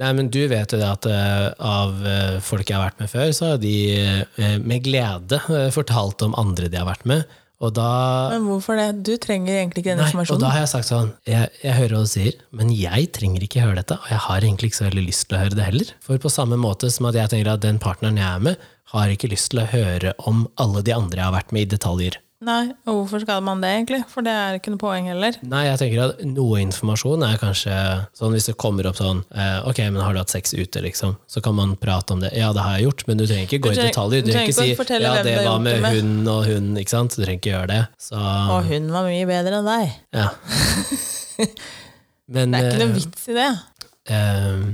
Speaker 1: men du vet jo det at eh, av eh, folk jeg har vært med før, så har de eh, med glede eh, fortalt om andre de har vært med, og da
Speaker 2: Men hvorfor det? Du trenger egentlig ikke den
Speaker 1: Nei, og da
Speaker 2: informasjonen.
Speaker 1: har jeg sagt sånn jeg, jeg hører hva du sier, men jeg trenger ikke høre dette, og jeg har egentlig ikke så veldig lyst til å høre det heller. For på samme måte som at jeg tenker at den partneren jeg er med, har ikke lyst til å høre om alle de andre jeg har vært med i detaljer.
Speaker 2: Nei, og hvorfor skal man det, egentlig? For det er ikke noe poeng heller.
Speaker 1: Nei, jeg tenker at noe informasjon er kanskje sånn hvis det kommer opp sånn eh, Ok, men har du hatt sex ute, liksom? Så kan man prate om det. Ja, det har jeg gjort, men du trenger ikke gå
Speaker 2: Du
Speaker 1: i
Speaker 2: trenger-
Speaker 1: detaljer. Du
Speaker 2: du
Speaker 1: trenger
Speaker 2: trenger ikke
Speaker 1: ikke si
Speaker 2: fortelle
Speaker 1: ja,
Speaker 2: hvem
Speaker 1: det
Speaker 2: du har
Speaker 1: var
Speaker 2: gjort
Speaker 1: med
Speaker 2: det
Speaker 1: hun og hun, ikke sant? Du trenger ikke gjøre det. Så
Speaker 2: Og hun var mye bedre enn deg.
Speaker 1: ja. Men,
Speaker 2: Det er ikke
Speaker 1: eh,
Speaker 2: noe vits i det.
Speaker 1: Ehm,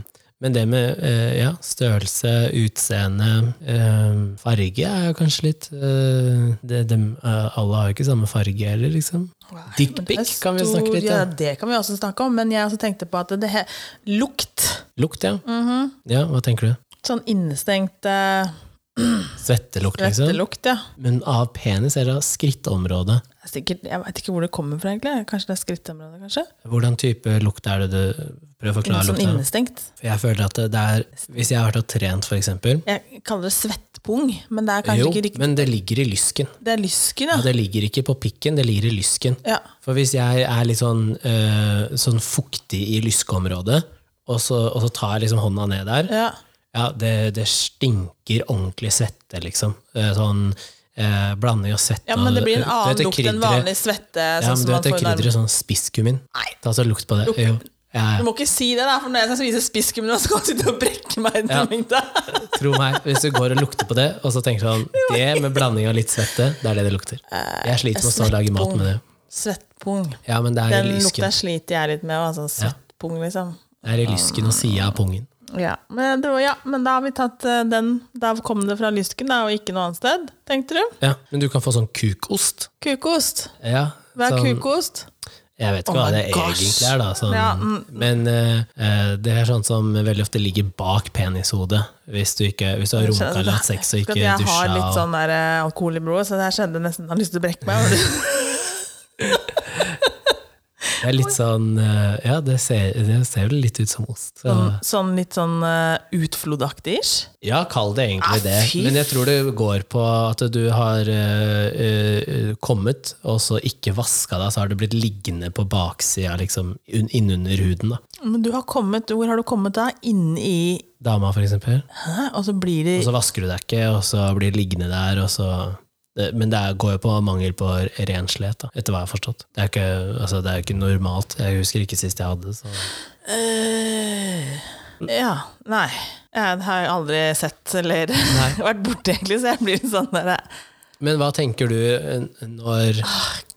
Speaker 1: men det med eh, ja, størrelse, utseende, ehm, farge er jo kanskje litt eh, det, dem, eh, Alle har jo ikke samme farge heller, liksom.
Speaker 2: Det er
Speaker 1: Dickpic kan vi snakke
Speaker 2: stor-
Speaker 1: litt
Speaker 2: Ja,
Speaker 1: om.
Speaker 2: det kan vi også snakke om, men jeg også tenkte på at det he lukt.
Speaker 1: Lukt, ja. ja. Hva tenker du?
Speaker 2: Sånn innestengt eh,
Speaker 1: Svettelukt, liksom.
Speaker 2: svettelukt, ja.
Speaker 1: Men av penis er det av skrittområdet.
Speaker 2: Det er Sikkert, jeg veit ikke hvor det kommer fra, egentlig. Kanskje det er skrittområdet, kanskje?
Speaker 1: Hvordan type lukt er det du prøver å forklare
Speaker 2: Sånn
Speaker 1: lukta?
Speaker 2: innestengt.
Speaker 1: For jeg føler at det det er Hvis jeg har vært og trent, for eksempel
Speaker 2: Jeg kaller det svettpung, men det er kanskje
Speaker 1: Jo,
Speaker 2: ikke riktig.
Speaker 1: men det ligger i lysken.
Speaker 2: Det er lysken,
Speaker 1: Ja,
Speaker 2: ja.
Speaker 1: det ligger ikke på pikken, det ligger i lysken.
Speaker 2: ja.
Speaker 1: For hvis jeg er litt sånn, eh, sånn fuktig i lyskeområdet, og så, og så tar jeg liksom hånda ned der,
Speaker 2: ja.
Speaker 1: ja, det, det stinker ordentlig svette, liksom. Eh, Sånn eh, blanding av svette
Speaker 2: ja, men det blir en
Speaker 1: og-
Speaker 2: annen
Speaker 1: du vet
Speaker 2: lukt
Speaker 1: det
Speaker 2: enn
Speaker 1: krydderet-
Speaker 2: vanlig svette.
Speaker 1: Ja,
Speaker 2: sånn
Speaker 1: men
Speaker 2: som
Speaker 1: du
Speaker 2: man
Speaker 1: vet det
Speaker 2: får i nærmen.
Speaker 1: krydderet sånn spisskummin?
Speaker 2: Nei.
Speaker 1: Ta så lukt på det.
Speaker 2: Lukt.
Speaker 1: Jo. Ja,
Speaker 2: Du
Speaker 1: ja.
Speaker 2: må ikke si det, da, for når jeg skal spise spiskum, nå skal jeg sitte og brekke meg. i
Speaker 1: Ja.
Speaker 2: middag.
Speaker 1: Tro meg, hvis du går og lukter på det, og så tenker du sånn Det med blanding av litt svette, det er det det lukter.
Speaker 2: Eh,
Speaker 1: Jeg sliter med å stå og lage mat med det.
Speaker 2: Svettpung.
Speaker 1: Ja, men det er
Speaker 2: Den
Speaker 1: i
Speaker 2: lukta
Speaker 1: lysken.
Speaker 2: sliter jeg litt med. Altså, svettpung, liksom.
Speaker 1: Det er i lysken og sida av pungen.
Speaker 2: Ja. Men, det var, ja, men da har vi tatt eh, den. Da kom det fra lysken, da, og ikke noe annet sted, tenkte du?
Speaker 1: Ja, men du kan få sånn kukost.
Speaker 2: Kukost.
Speaker 1: Ja,
Speaker 2: Hva er
Speaker 1: sånn-
Speaker 2: kukost?
Speaker 1: Jeg vet ikke
Speaker 2: Oh
Speaker 1: hva
Speaker 2: my
Speaker 1: det
Speaker 2: gosh.
Speaker 1: egentlig er, da. Sånn.
Speaker 2: Ja, mm.
Speaker 1: Men eh, eh, det er sånn som veldig ofte ligger bak penishodet. Hvis du, ikke, hvis du har runka eller hatt sex og
Speaker 2: Akkurat
Speaker 1: ikke
Speaker 2: jeg
Speaker 1: dusja.
Speaker 2: har litt
Speaker 1: og-
Speaker 2: sånn der, eh, alkohol i blodet, så det her skjedde nesten jeg har lyst til å brekke meg.
Speaker 1: Det er litt sånn eh, Ja, det ser, det ser vel litt ut som ost. Så.
Speaker 2: Sånn, sånn litt sånn eh, utflodaktig ish.
Speaker 1: Ja, kall det egentlig
Speaker 2: Ah,
Speaker 1: det.
Speaker 2: fy
Speaker 1: Men jeg tror det går på at du har eh, eh, kommet, og så ikke vaska deg, så har du blitt liggende på baksida, liksom un- innunder huden. da.
Speaker 2: Men du har kommet, hvor har du kommet da? Inne i
Speaker 1: Dama, for eksempel.
Speaker 2: Hæ? Og så blir det
Speaker 1: Og så vasker du deg ikke, og så blir det liggende der, og så det, Men det er- går jo på mangel på renslighet, da, etter hva jeg har forstått. Det er jo ikke, altså, det er jo ikke normalt. Jeg husker ikke sist jeg hadde det. Så.
Speaker 2: Eh, Ja. Nei. Jeg har jeg aldri sett eller vært borte, egentlig, så jeg blir litt sånn der
Speaker 1: Men hva tenker du eh, når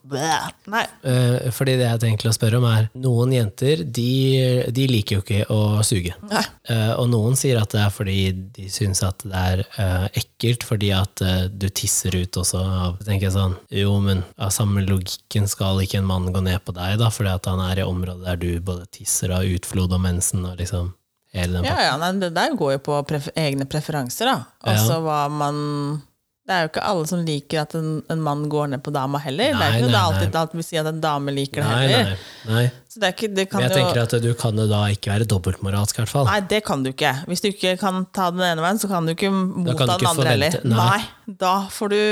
Speaker 2: bæ. Nei.
Speaker 1: eh, Fordi det jeg tenker å spørre om, er noen jenter de, de liker jo ikke å suge.
Speaker 2: Nei.
Speaker 1: Eh, og noen sier at det er fordi de syns at det er eh, ekkelt fordi at eh, du tisser ut også. Av, så tenker jeg sånn, jo, men av samme logikken skal ikke en mann gå ned på deg, da, fordi at han er i området der du både tisser og har utflod og mensen og liksom hele den
Speaker 2: Ja,
Speaker 1: pakka.
Speaker 2: ja, nei, det der går jo på pref egne preferanser, da. Og så hva man Det er jo ikke alle som liker at en, en mann går ned på dama heller. det er
Speaker 1: Nei,
Speaker 2: ikke noe det
Speaker 1: nei,
Speaker 2: er alltid alt vil si at en dame liker det
Speaker 1: Nei,
Speaker 2: heller.
Speaker 1: nei, nei.
Speaker 2: Så det, er ikke, det kan
Speaker 1: Men jeg
Speaker 2: jo
Speaker 1: tenker at du kan jo da ikke være dobbeltmoralsk, i hvert fall.
Speaker 2: Nei, det kan du ikke. Hvis du ikke kan ta den ene veien, så kan du ikke motta
Speaker 1: kan du ikke
Speaker 2: den andre heller.
Speaker 1: forvente-
Speaker 2: Nei.
Speaker 1: nei.
Speaker 2: da får du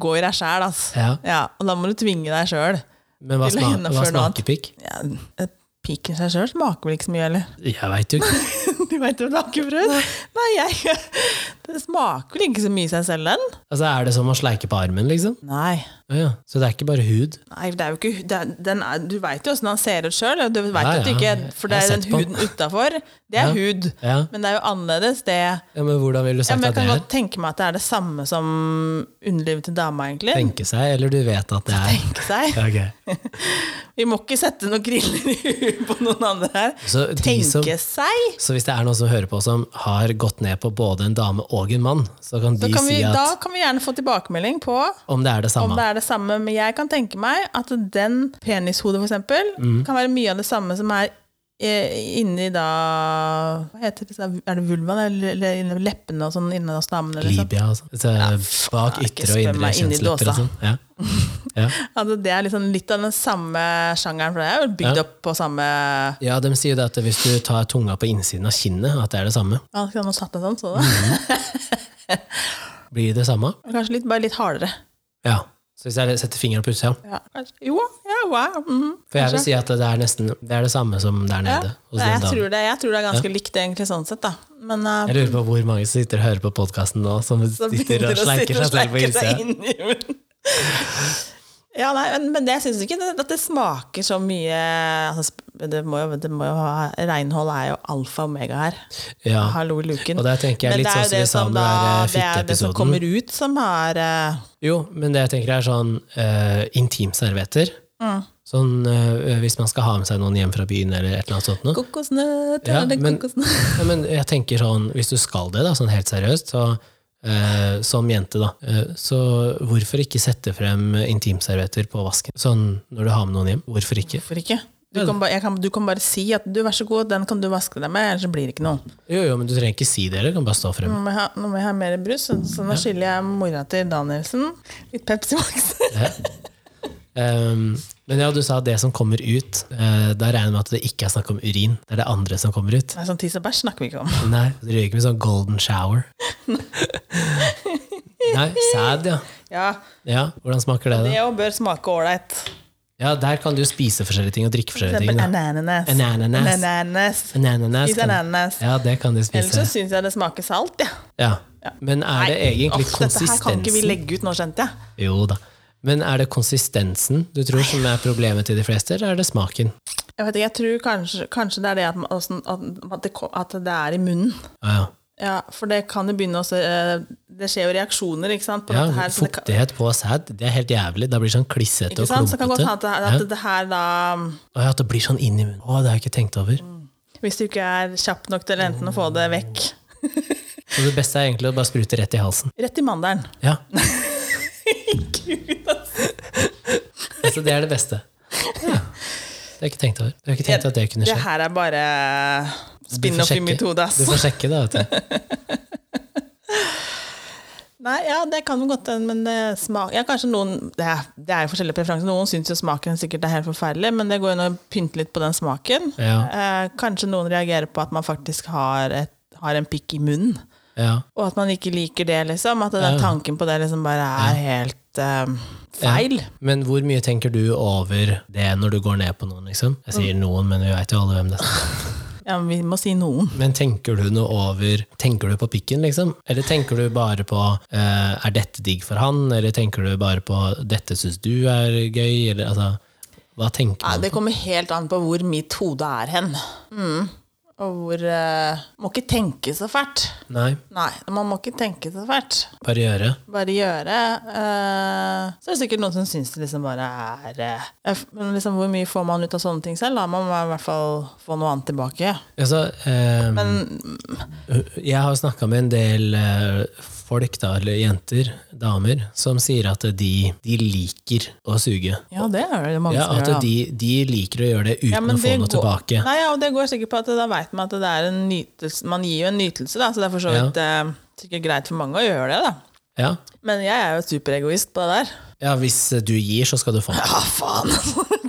Speaker 2: gå i deg sjæl, ass.
Speaker 1: Ja.
Speaker 2: og da må du tvinge deg sjøl.
Speaker 1: Men hva,
Speaker 2: Til å
Speaker 1: sma hva
Speaker 2: gjennomføre noe annet.
Speaker 1: smaker pikk?
Speaker 2: Ja, et Pik i seg sjøl smaker vel ikke så mye, eller?
Speaker 1: Jeg veit jo ikke.
Speaker 2: Du veit jo det har ikke prøvd? Nei, jeg Det smaker vel ikke så mye i seg selv, den?
Speaker 1: Altså, er det som å sleike på armen, liksom?
Speaker 2: Nei.
Speaker 1: Å Ja, så det er ikke bare hud?
Speaker 2: Nei, det er jo ikke, det er, den er, du veit jo åssen han ser ut sjøl. Du vet
Speaker 1: Ja,
Speaker 2: at du
Speaker 1: ja,
Speaker 2: ikke, for det
Speaker 1: jeg
Speaker 2: er
Speaker 1: har
Speaker 2: den
Speaker 1: sett på.
Speaker 2: huden utafor, det er
Speaker 1: Ja.
Speaker 2: hud.
Speaker 1: Ja.
Speaker 2: Men det er jo annerledes, det.
Speaker 1: ja, men hvordan ville du
Speaker 2: Ja,
Speaker 1: sagt
Speaker 2: men jeg
Speaker 1: at det
Speaker 2: kan
Speaker 1: er?
Speaker 2: godt tenke meg at det er det samme som underlivet til dama, egentlig.
Speaker 1: Tenke seg, eller du vet at det er?
Speaker 2: Tenke seg.
Speaker 1: Ja, ok.
Speaker 2: Vi må ikke sette noen griller i huet på noen andre her.
Speaker 1: Så, de som,
Speaker 2: Tenke seg!
Speaker 1: så hvis det er noen som hører på som har gått ned på både en dame og en mann, så kan
Speaker 2: Så
Speaker 1: de
Speaker 2: kan vi,
Speaker 1: si at
Speaker 2: da kan vi gjerne få tilbakemelding på
Speaker 1: om det er det
Speaker 2: om
Speaker 1: samme.
Speaker 2: det er det samme. Men jeg kan tenke meg at den penishodet, for eksempel,
Speaker 1: Mhm.
Speaker 2: kan være mye av det samme som er eh, inni da Hva heter det? Er det vulvaen eller- eller inni leppene og sånn inne hos damene? Liksom?
Speaker 1: Libya og sånn. Så, bak
Speaker 2: nei,
Speaker 1: ytre
Speaker 2: ikke
Speaker 1: og
Speaker 2: spør
Speaker 1: indre
Speaker 2: meg inn i
Speaker 1: kjønnslepper og
Speaker 2: dåsa.
Speaker 1: sånn. Ja. Ja.
Speaker 2: Altså, det er liksom litt av den samme sjangeren, for det er jo bygd
Speaker 1: Ja.
Speaker 2: opp på samme
Speaker 1: ja, de sier jo det at hvis du tar tunga på innsiden av kinnet, at det er det samme.
Speaker 2: Ja, skal man satt det sånn, så da?
Speaker 1: Blir det det samme?
Speaker 2: Kanskje litt, bare litt hardere.
Speaker 1: Ja. Så hvis jeg setter fingeren på utsida
Speaker 2: Ja, kanskje. Jo, ja, wow. mhm.
Speaker 1: For jeg vil si at det er nesten det, er det samme som der nede. hos
Speaker 2: Nei,
Speaker 1: den
Speaker 2: jeg,
Speaker 1: damen.
Speaker 2: tror det, jeg tror det er ganske likt, egentlig, sånn sett, da. Men eh,
Speaker 1: Jeg lurer på hvor mange som sitter og hører på podkasten nå, som
Speaker 2: Så
Speaker 1: sitter
Speaker 2: begynner
Speaker 1: og
Speaker 2: det å sitte
Speaker 1: sleiker seg selv på
Speaker 2: sleiker
Speaker 1: innsida.
Speaker 2: seg inn i munnen. Ja, nei, men, men det jeg syns ikke det, at det smaker så mye altså, sp- det, må jo, det må jo ha Reinhold er jo alfa og omega her.
Speaker 1: Ja.
Speaker 2: Hallo i luken.
Speaker 1: Og der tenker jeg
Speaker 2: Men
Speaker 1: litt
Speaker 2: det
Speaker 1: sånn
Speaker 2: er
Speaker 1: som vi
Speaker 2: jo det
Speaker 1: sa
Speaker 2: som
Speaker 1: om
Speaker 2: da
Speaker 1: den der
Speaker 2: Det er det som
Speaker 1: fitteepisoden.
Speaker 2: kommer ut, som er eh,
Speaker 1: Jo, men det jeg tenker er sånn uh, intimservietter.
Speaker 2: Mm.
Speaker 1: Sånn eh, hvis man skal ha med seg noen hjem fra byen eller et eller annet sånt noe.
Speaker 2: kokosnøtt
Speaker 1: Ja,
Speaker 2: eller
Speaker 1: men-
Speaker 2: kokosnøtt
Speaker 1: Ja, men jeg tenker sånn, hvis du skal det da, sånn helt seriøst, så eh, som jente da, eh, så hvorfor ikke sette frem intimservietter på vasken? Sånn når du har med noen hjem, hvorfor ikke?
Speaker 2: Hvorfor ikke? Du kan, bare, jeg kan, du kan bare si at du, vær så god, den kan du vaske deg med, ellers så blir det ikke noe.
Speaker 1: Jo, jo, men du trenger ikke si det, eller du kan bare stå frem.
Speaker 2: Nå må jeg ha, nå må jeg ha mer brus, så, så nå skylder jeg mora til Danielsen litt Pepsi Max.
Speaker 1: Um, men ja, du sa det som kommer ut, eh, da regner jeg med at det ikke er snakk om urin, det er det andre som kommer ut.
Speaker 2: Nei, sånn tiss og bæsj snakker vi ikke om.
Speaker 1: Nei, det røyker med sånn golden shower. Nei, sæd, ja.
Speaker 2: Ja,
Speaker 1: Ja, hvordan smaker det da?
Speaker 2: det jo bør smake ålreit.
Speaker 1: Ja, der kan du spise forskjellige ting og drikke
Speaker 2: For
Speaker 1: forskjellige ting.
Speaker 2: eksempel
Speaker 1: Da.
Speaker 2: ananas.
Speaker 1: Ananas.
Speaker 2: Ananas.
Speaker 1: En ananas.
Speaker 2: Spis
Speaker 1: kan-
Speaker 2: ananas.
Speaker 1: Ja, det kan du
Speaker 2: Ellers så
Speaker 1: spise.
Speaker 2: syns jeg det smaker salt, jeg. Ja.
Speaker 1: Ja. Men er det egentlig
Speaker 2: Uff, Dette her kan ikke vi
Speaker 1: konsistensen
Speaker 2: legge ut nå, skjønte jeg.
Speaker 1: Jo da. Men er det konsistensen du tror som er problemet til de fleste, eller er det smaken?
Speaker 2: Jeg vet ikke, jeg tror kanskje, kanskje det er det at, man- åssen- at, at, det, ko- at det er i munnen.
Speaker 1: Ja, ja.
Speaker 2: Ja, For det kan jo begynne å se eh, Det skjer jo reaksjoner, ikke sant? På
Speaker 1: ja
Speaker 2: dette her, så det kan,
Speaker 1: fuktighet på sæd, det er helt jævlig. Da blir det sånn klissete
Speaker 2: ikke
Speaker 1: og
Speaker 2: sant? Så det kan godt
Speaker 1: klumpete.
Speaker 2: hende at, det- at det Mm. her da
Speaker 1: Å ja, at det blir sånn inn i munnen. Å, det har jeg ikke tenkt over.
Speaker 2: Hvis du ikke er kjapp nok til enten å få det vekk
Speaker 1: Så det beste er egentlig å bare sprute rett i halsen.
Speaker 2: Rett i mandelen.
Speaker 1: Ja. altså, det er det beste. Ja. Det har jeg ikke tenkt over. Jeg har ikke tenkt at det kunne skje.
Speaker 2: Det her altså. er bare
Speaker 1: Du får
Speaker 2: spin-off i
Speaker 1: sjekke-
Speaker 2: mitt hode, ass.
Speaker 1: Du får sjekke, da. Vet du.
Speaker 2: Nei, ja, det kan jo godt hende, men det smak ja, kanskje noen det er, det er jo forskjellige preferanser. Noen syns jo smaken sikkert er helt forferdelig, men det går jo an å pynte litt på den smaken.
Speaker 1: Ja.
Speaker 2: Eh, kanskje noen reagerer på at man faktisk har, et, har en pikk i munnen,
Speaker 1: Ja.
Speaker 2: og at man ikke liker det, liksom. At den
Speaker 1: Ja.
Speaker 2: tanken på det liksom bare er helt eh, feil.
Speaker 1: Ja. Men hvor mye tenker du over det når du går ned på noen, liksom? Jeg
Speaker 2: Mm.
Speaker 1: sier noen, men vi veit jo alle hvem det er.
Speaker 2: Ja, men vi må si noen.
Speaker 1: Men tenker du noe over Tenker du på pikken, liksom? Eller tenker du bare på eh, Er dette digg for han? Eller tenker du bare på Dette syns du er gøy? Eller altså Hva tenker
Speaker 2: Nei,
Speaker 1: man?
Speaker 2: det kommer helt an på hvor mitt hode er hen. Mm. Og hvor eh, Må ikke tenke så fælt.
Speaker 1: Nei,
Speaker 2: Nei, man må ikke tenke så fælt.
Speaker 1: bare gjøre.
Speaker 2: bare gjøre. eh, så er det sikkert noen som syns det liksom bare er eh, jeg f- Men liksom hvor mye får man ut av sånne ting selv? Da må man i hvert fall få noe annet tilbake.
Speaker 1: Altså, eh,
Speaker 2: Men
Speaker 1: Jeg har snakka med en del eh, folk, da, eller jenter, damer, som sier at de, de liker å suge.
Speaker 2: ja, det er det mange
Speaker 1: Ja,
Speaker 2: som
Speaker 1: At
Speaker 2: gjør. da.
Speaker 1: de, de liker å gjøre det uten
Speaker 2: Ja, men
Speaker 1: å få
Speaker 2: det
Speaker 1: noe
Speaker 2: går-
Speaker 1: tilbake.
Speaker 2: Nei, ja, og det går sikkert på at da vet man at det er en nytelse Man gir jo en nytelse, da, så det er for så
Speaker 1: Ja.
Speaker 2: vidt eh, sikkert greit for mange å gjøre det, da.
Speaker 1: Ja.
Speaker 2: Men jeg er jo superegoist på det der.
Speaker 1: ja, hvis du gir, så skal du få.
Speaker 2: Ja, faen!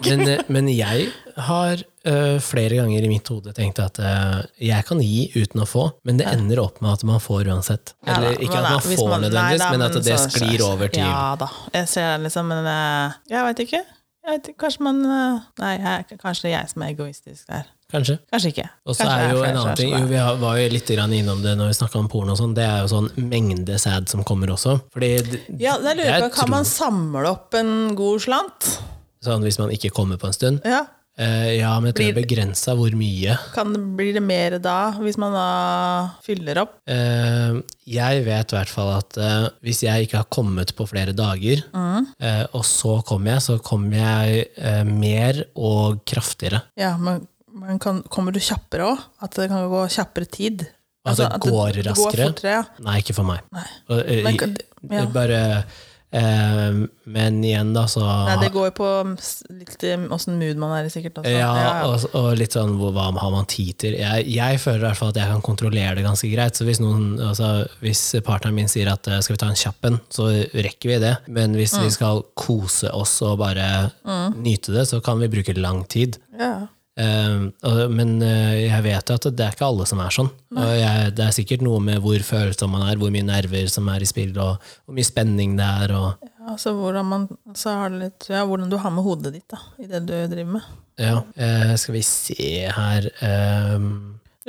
Speaker 1: Men, eh, men jeg har eh, flere ganger i mitt hode tenkt at eh, jeg kan gi uten å få, men det ender opp med at man får uansett.
Speaker 2: Ja da,
Speaker 1: Eller ikke
Speaker 2: men
Speaker 1: at man
Speaker 2: da, hvis
Speaker 1: får
Speaker 2: nei
Speaker 1: nødvendigvis,
Speaker 2: da,
Speaker 1: men at det
Speaker 2: så-
Speaker 1: sklir over til
Speaker 2: Ja da. Jeg ser den liksom, men eh, jeg veit ikke. Jeg vet, ikke, kanskje man eh, Nei, jeg, kanskje det er jeg som er egoistisk der.
Speaker 1: Kanskje.
Speaker 2: Kanskje ikke.
Speaker 1: Og så
Speaker 2: Kanskje det
Speaker 1: er jo
Speaker 2: flere
Speaker 1: en
Speaker 2: som
Speaker 1: annen
Speaker 2: er
Speaker 1: ting,
Speaker 2: sånn.
Speaker 1: jo, vi har- var jo litt grann innom det når vi snakka om porno og sånn, det er jo sånn mengde sæd som kommer også. Fordi d-
Speaker 2: Ja, jeg lurer jeg
Speaker 1: jeg
Speaker 2: på, Kan man
Speaker 1: tror-
Speaker 2: samle opp en god slant?
Speaker 1: sånn hvis man ikke kommer på en stund
Speaker 2: Ja.
Speaker 1: eh, Ja, men jeg tror det er begrensa hvor mye.
Speaker 2: Kan, det- blir det mer da, hvis man da fyller opp?
Speaker 1: Eh, jeg vet i hvert fall at eh, hvis jeg ikke har kommet på flere dager,
Speaker 2: Mm.
Speaker 1: eh, og så kommer jeg, så kommer jeg eh, mer og kraftigere.
Speaker 2: Ja, men, men kan, kommer du kjappere òg? At det kan gå kjappere tid? Altså,
Speaker 1: At det går raskere?
Speaker 2: Går fortere, ja.
Speaker 1: Nei, ikke for meg.
Speaker 2: Nei.
Speaker 1: Og, eh,
Speaker 2: Men kan- ja.
Speaker 1: det er Bare eh, Men igjen, da, så
Speaker 2: Nei, det går jo på mm, s- litt åssen mood man er i, sikkert. Også.
Speaker 1: Ja, og, og litt sånn hvor- hva har man tid til? Jeg, jeg føler i hvert fall at jeg kan kontrollere det ganske greit. Så hvis, noen, altså, hvis partneren min sier at eh, skal vi ta en kjapp en, så rekker vi det. Men hvis vi skal kose oss og bare nyte det, så kan vi bruke lang tid.
Speaker 2: ja.
Speaker 1: Eh, og- men eh, jeg vet jo at det er ikke alle som er sånn. Og jeg, det er sikkert noe med hvor følsom man er, hvor mye nerver som er i spill, og hvor mye spenning det er. Og,
Speaker 2: Ja, så hvordan, man, så har det litt, ja, hvordan du har med hodet ditt da, i det du driver med.
Speaker 1: ja. Eh, skal vi se her eh,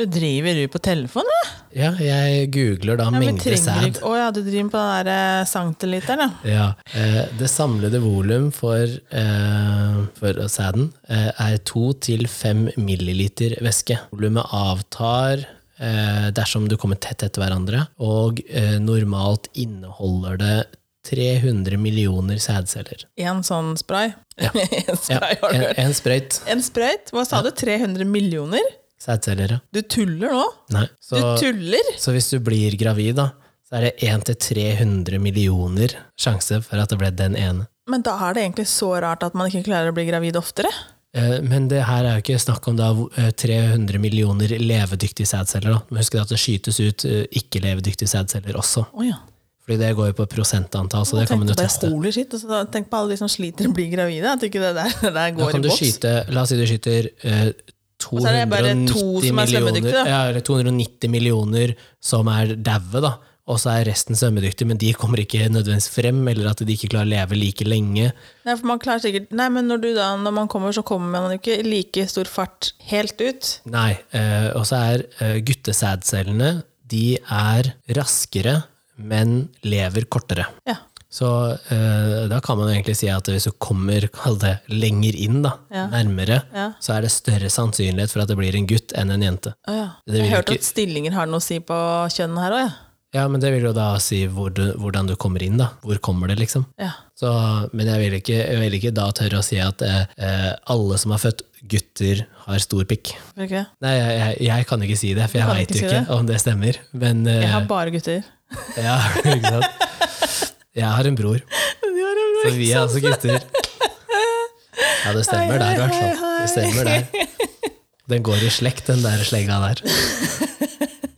Speaker 2: Du driver du på telefon, da?
Speaker 1: Ja, jeg googler da
Speaker 2: Ja, men
Speaker 1: mengde
Speaker 2: trenger
Speaker 1: sæd.
Speaker 2: ikke- Å ja, du driver på den der eh, centiliteren, ja.
Speaker 1: Ja, eh, det samlede volum for, eh, for sæden eh, er 2-5 milliliter væske. Volumet avtar eh, dersom du kommer tett etter hverandre, og eh, normalt inneholder det 300 millioner sædceller.
Speaker 2: En sånn spray. en
Speaker 1: Ja,
Speaker 2: spray har du
Speaker 1: en,
Speaker 2: hørt.
Speaker 1: en sprøyt
Speaker 2: En sprøyt? Hva sa du? 300 millioner?
Speaker 1: sædceller, ja.
Speaker 2: Du tuller nå?
Speaker 1: Nei.
Speaker 2: Du
Speaker 1: Så,
Speaker 2: tuller?
Speaker 1: så hvis du blir gravid, da, så er det 1-300 millioner sjanse for at det ble den ene.
Speaker 2: Men da er det egentlig så rart at man ikke klarer å bli gravid oftere.
Speaker 1: Eh, Men det her er jo ikke snakk om da eh, 300 millioner levedyktige sædceller. da. Men husk at det skytes ut eh, ikke-levedyktige sædceller også.
Speaker 2: Å ja.
Speaker 1: Fordi det går jo på prosentantall, så det kan man jo
Speaker 2: tenkte bare,
Speaker 1: teste.
Speaker 2: holy shit, og så tenk på alle de som sliter å bli gravide. At ikke det der, det der
Speaker 1: Da
Speaker 2: går i
Speaker 1: kan du
Speaker 2: boks.
Speaker 1: skyte, la oss si du skyter eh,
Speaker 2: så er det bare to
Speaker 1: 290
Speaker 2: som er
Speaker 1: millioner,
Speaker 2: svømmedyktige, da.
Speaker 1: ja, eller 290 millioner som er daue, da. Og så er resten svømmedyktige, men de kommer ikke nødvendigvis frem, eller at de ikke klarer å leve like lenge.
Speaker 2: Nei, for man klarer sikkert Nei, men når, du da, når man kommer, så kommer man ikke i like stor fart helt ut.
Speaker 1: Nei, eh, og så er eh, guttesædcellene De er raskere, men lever kortere.
Speaker 2: Ja.
Speaker 1: Så eh, da kan man jo egentlig si at hvis du kommer kall det, lenger inn, da,
Speaker 2: Ja.
Speaker 1: nærmere,
Speaker 2: Ja.
Speaker 1: så er det større sannsynlighet for at det blir en gutt enn en jente.
Speaker 2: Å ja.
Speaker 1: Det vil
Speaker 2: Jeg hørte
Speaker 1: ikke-
Speaker 2: at stillinger har noe å si på kjønn her òg, jeg.
Speaker 1: Ja, men det vil jo da si hvor du, hvordan du kommer inn, da. Hvor kommer det, liksom?
Speaker 2: Ja. Ja.
Speaker 1: Så, men jeg vil, ikke, jeg vil ikke da tørre å si at eh, eh, alle som er født gutter, har stor pikk.
Speaker 2: Hvorfor ikke det?
Speaker 1: Nei, jeg, jeg, jeg kan ikke si det, for
Speaker 2: Du
Speaker 1: jeg
Speaker 2: kan
Speaker 1: veit
Speaker 2: ikke si
Speaker 1: jo ikke
Speaker 2: det.
Speaker 1: om det stemmer. Men eh,
Speaker 2: Jeg har bare gutter.
Speaker 1: Ja, ikke sant? Jeg har en bror,
Speaker 2: De har en
Speaker 1: så vi er altså gutter. Ja, det stemmer der, i hvert fall. Det stemmer der. Den går i slekt, den der slegga der.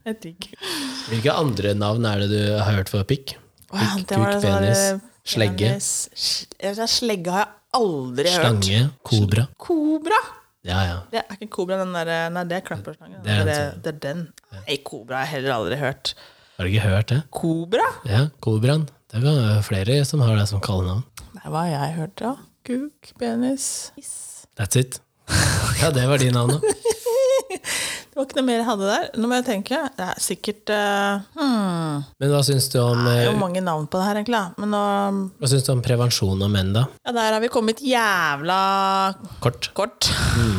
Speaker 2: Jeg digger
Speaker 1: Hvilke andre navn er det du har hørt for pikk?
Speaker 2: Wow,
Speaker 1: Pikk,
Speaker 2: det var
Speaker 1: kuk,
Speaker 2: det sånn der,
Speaker 1: penis, slegge,
Speaker 2: penis, sl- Jeg vet ikke, Slegge har jeg aldri hørt.
Speaker 1: slange, kobra.
Speaker 2: Kobra!
Speaker 1: Ja, ja.
Speaker 2: Det er ikke kobra, den der, nei, det er klapperslangen.
Speaker 1: Det er den
Speaker 2: Det, det er den. Nei, kobra har jeg heller aldri hørt.
Speaker 1: Har du ikke hørt det?
Speaker 2: Kobra?
Speaker 1: Ja, kobraen. Det kan være flere som har det som kallenavn.
Speaker 2: Nei, hva har jeg hørt, da? Kuk, penis, tiss.
Speaker 1: That's it. Ja, det var de navnene.
Speaker 2: Det var ikke noe mer jeg hadde der. Nå må jeg tenke. Det er sikkert eh, hmm,
Speaker 1: Men hva syns du om,
Speaker 2: Det er jo
Speaker 1: eh,
Speaker 2: mange navn på det her, egentlig. da. Men nå
Speaker 1: hva syns du om prevensjon av menn, da?
Speaker 2: Ja, der har vi kommet jævla
Speaker 1: Kort.
Speaker 2: kort.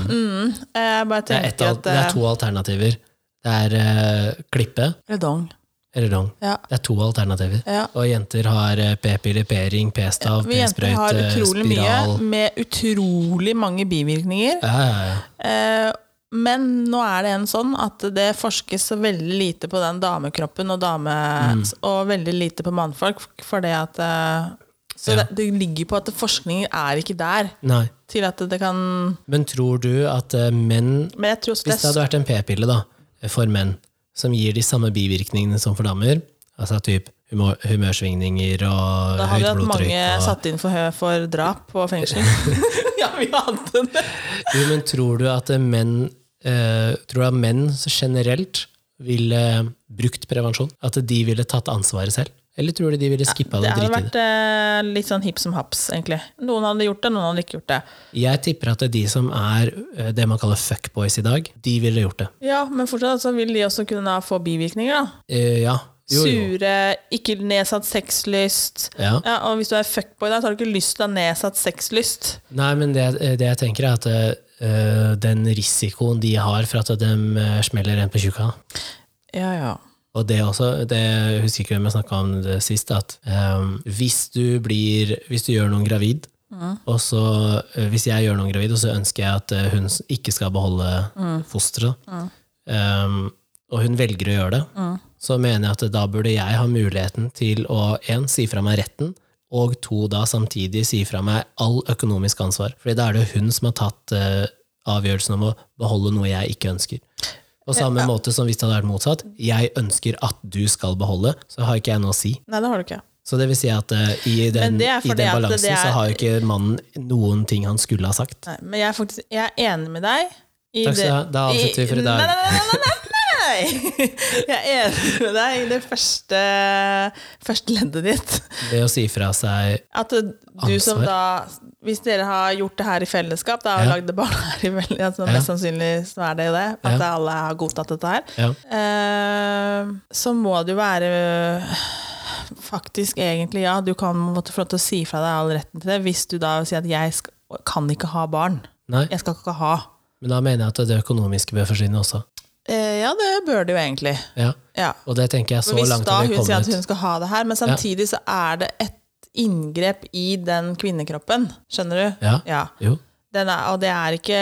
Speaker 2: Mm. Jeg bare
Speaker 1: Det er, ett
Speaker 2: tenker
Speaker 1: al-
Speaker 2: at eh,
Speaker 1: det er to alternativer. Det er eh, klippe
Speaker 2: Redong.
Speaker 1: eller dong.
Speaker 2: Ja.
Speaker 1: Det er to alternativer.
Speaker 2: Ja.
Speaker 1: Og jenter har eh, p-piller, p-ring, p-stav,
Speaker 2: Vi jenter
Speaker 1: p-sprøyte,
Speaker 2: har utrolig
Speaker 1: spiral.
Speaker 2: mye med utrolig mange bivirkninger.
Speaker 1: Ja, ja, ja.
Speaker 2: Eh, men nå er det en sånn at det forskes så veldig lite på den damekroppen og dame...
Speaker 1: Mm.
Speaker 2: Og veldig lite på mannfolk, for det at eh, Så
Speaker 1: Ja.
Speaker 2: det, det ligger på at forskningen er ikke der
Speaker 1: Nei.
Speaker 2: til at det kan
Speaker 1: Men tror du at eh, menn
Speaker 2: Men jeg tror også det
Speaker 1: Hvis det
Speaker 2: er
Speaker 1: hadde vært en p-pille da, for menn, som gir de samme bivirkningene som for damer, altså typ humør, humørsvingninger og
Speaker 2: Da
Speaker 1: høyt
Speaker 2: hadde vi hatt
Speaker 1: blodtrykk
Speaker 2: mange
Speaker 1: og...
Speaker 2: satt inn for, hø- for drap og fengsling. ja, vi hadde det!
Speaker 1: Jo, men tror du at eh, menn eh, Tror du at menn så generelt ville brukt prevensjon? At de ville tatt ansvaret selv? Eller tror du de ville skippa
Speaker 2: Det
Speaker 1: det
Speaker 2: hadde
Speaker 1: og driti i det?
Speaker 2: vært eh, litt sånn hipp som haps, egentlig. Noen hadde gjort det, noen hadde ikke gjort det.
Speaker 1: Jeg tipper at de som er eh, det man kaller fuckboys i dag, de ville gjort det.
Speaker 2: Ja, men fortsatt så vil de også kunne få bivirkninger, da.
Speaker 1: Eh, ja. Jo, jo.
Speaker 2: Sure, ikke nedsatt sexlyst.
Speaker 1: Ja.
Speaker 2: Ja, og hvis du er fuckboy, da, så har du ikke lyst til å ha nedsatt sexlyst.
Speaker 1: Nei, men det, det jeg tenker, er at eh, den risikoen de har for at de eh, smeller en på tjukka
Speaker 2: Ja, ja.
Speaker 1: Og det også, det jeg husker ikke hvem jeg snakka om det sist, at eh, hvis du blir Hvis du gjør noen gravid, og så eh, Hvis jeg gjør noen gravid, og så ønsker jeg at eh, hun s- ikke skal beholde fosteret, eh, og hun velger å gjøre det, så mener jeg at da burde jeg ha muligheten til å en, si fra meg retten, og to, da samtidig si fra meg all økonomisk ansvar. Fordi da er det jo hun som har tatt eh, avgjørelsen om å beholde noe jeg ikke ønsker. På samme måte som hvis det hadde vært motsatt. Jeg ønsker at du skal beholde, så har ikke jeg noe å si.
Speaker 2: Nei, det har du ikke.
Speaker 1: Så det vil si at eh, i den,
Speaker 2: Men det er
Speaker 1: i
Speaker 2: fordi
Speaker 1: den
Speaker 2: at det
Speaker 1: balansen
Speaker 2: er-
Speaker 1: så har jo ikke mannen noen ting han skulle ha sagt.
Speaker 2: Nei, men jeg er faktisk jeg er enig med deg. i
Speaker 1: Takk skal du ha. Da
Speaker 2: i-
Speaker 1: avslutter vi for i dag.
Speaker 2: Nei, nei, nei! nei, nei, nei. Jeg er enig med deg i det første, første leddet ditt.
Speaker 1: Ved å si fra seg
Speaker 2: At du som da Hvis dere har gjort det her i fellesskap, da har
Speaker 1: Ja.
Speaker 2: lagd det barn her i veldig, altså,
Speaker 1: Ja.
Speaker 2: Mest sannsynlig så er det jo det. At
Speaker 1: Ja.
Speaker 2: alle har godtatt dette her.
Speaker 1: ja,
Speaker 2: Eh, så må det jo være Faktisk, egentlig, ja. Du kan måtte få lov til å si fra deg all retten til det hvis du da sier at jeg sk kan ikke ha barn.
Speaker 1: Nei,
Speaker 2: Jeg skal ikke ha.
Speaker 1: men da mener jeg at det økonomiske bør forsvinne også.
Speaker 2: Eh, ja, det bør det jo egentlig.
Speaker 1: Ja.
Speaker 2: Ja.
Speaker 1: Og det tenker jeg
Speaker 2: Men
Speaker 1: så
Speaker 2: hvis
Speaker 1: langt
Speaker 2: da
Speaker 1: har vi
Speaker 2: hun sier at
Speaker 1: kommet.
Speaker 2: hun skal ha det her, men samtidig så er det et inngrep i den kvinnekroppen. Skjønner du?
Speaker 1: Ja.
Speaker 2: ja.
Speaker 1: Jo.
Speaker 2: Den er, og det er ikke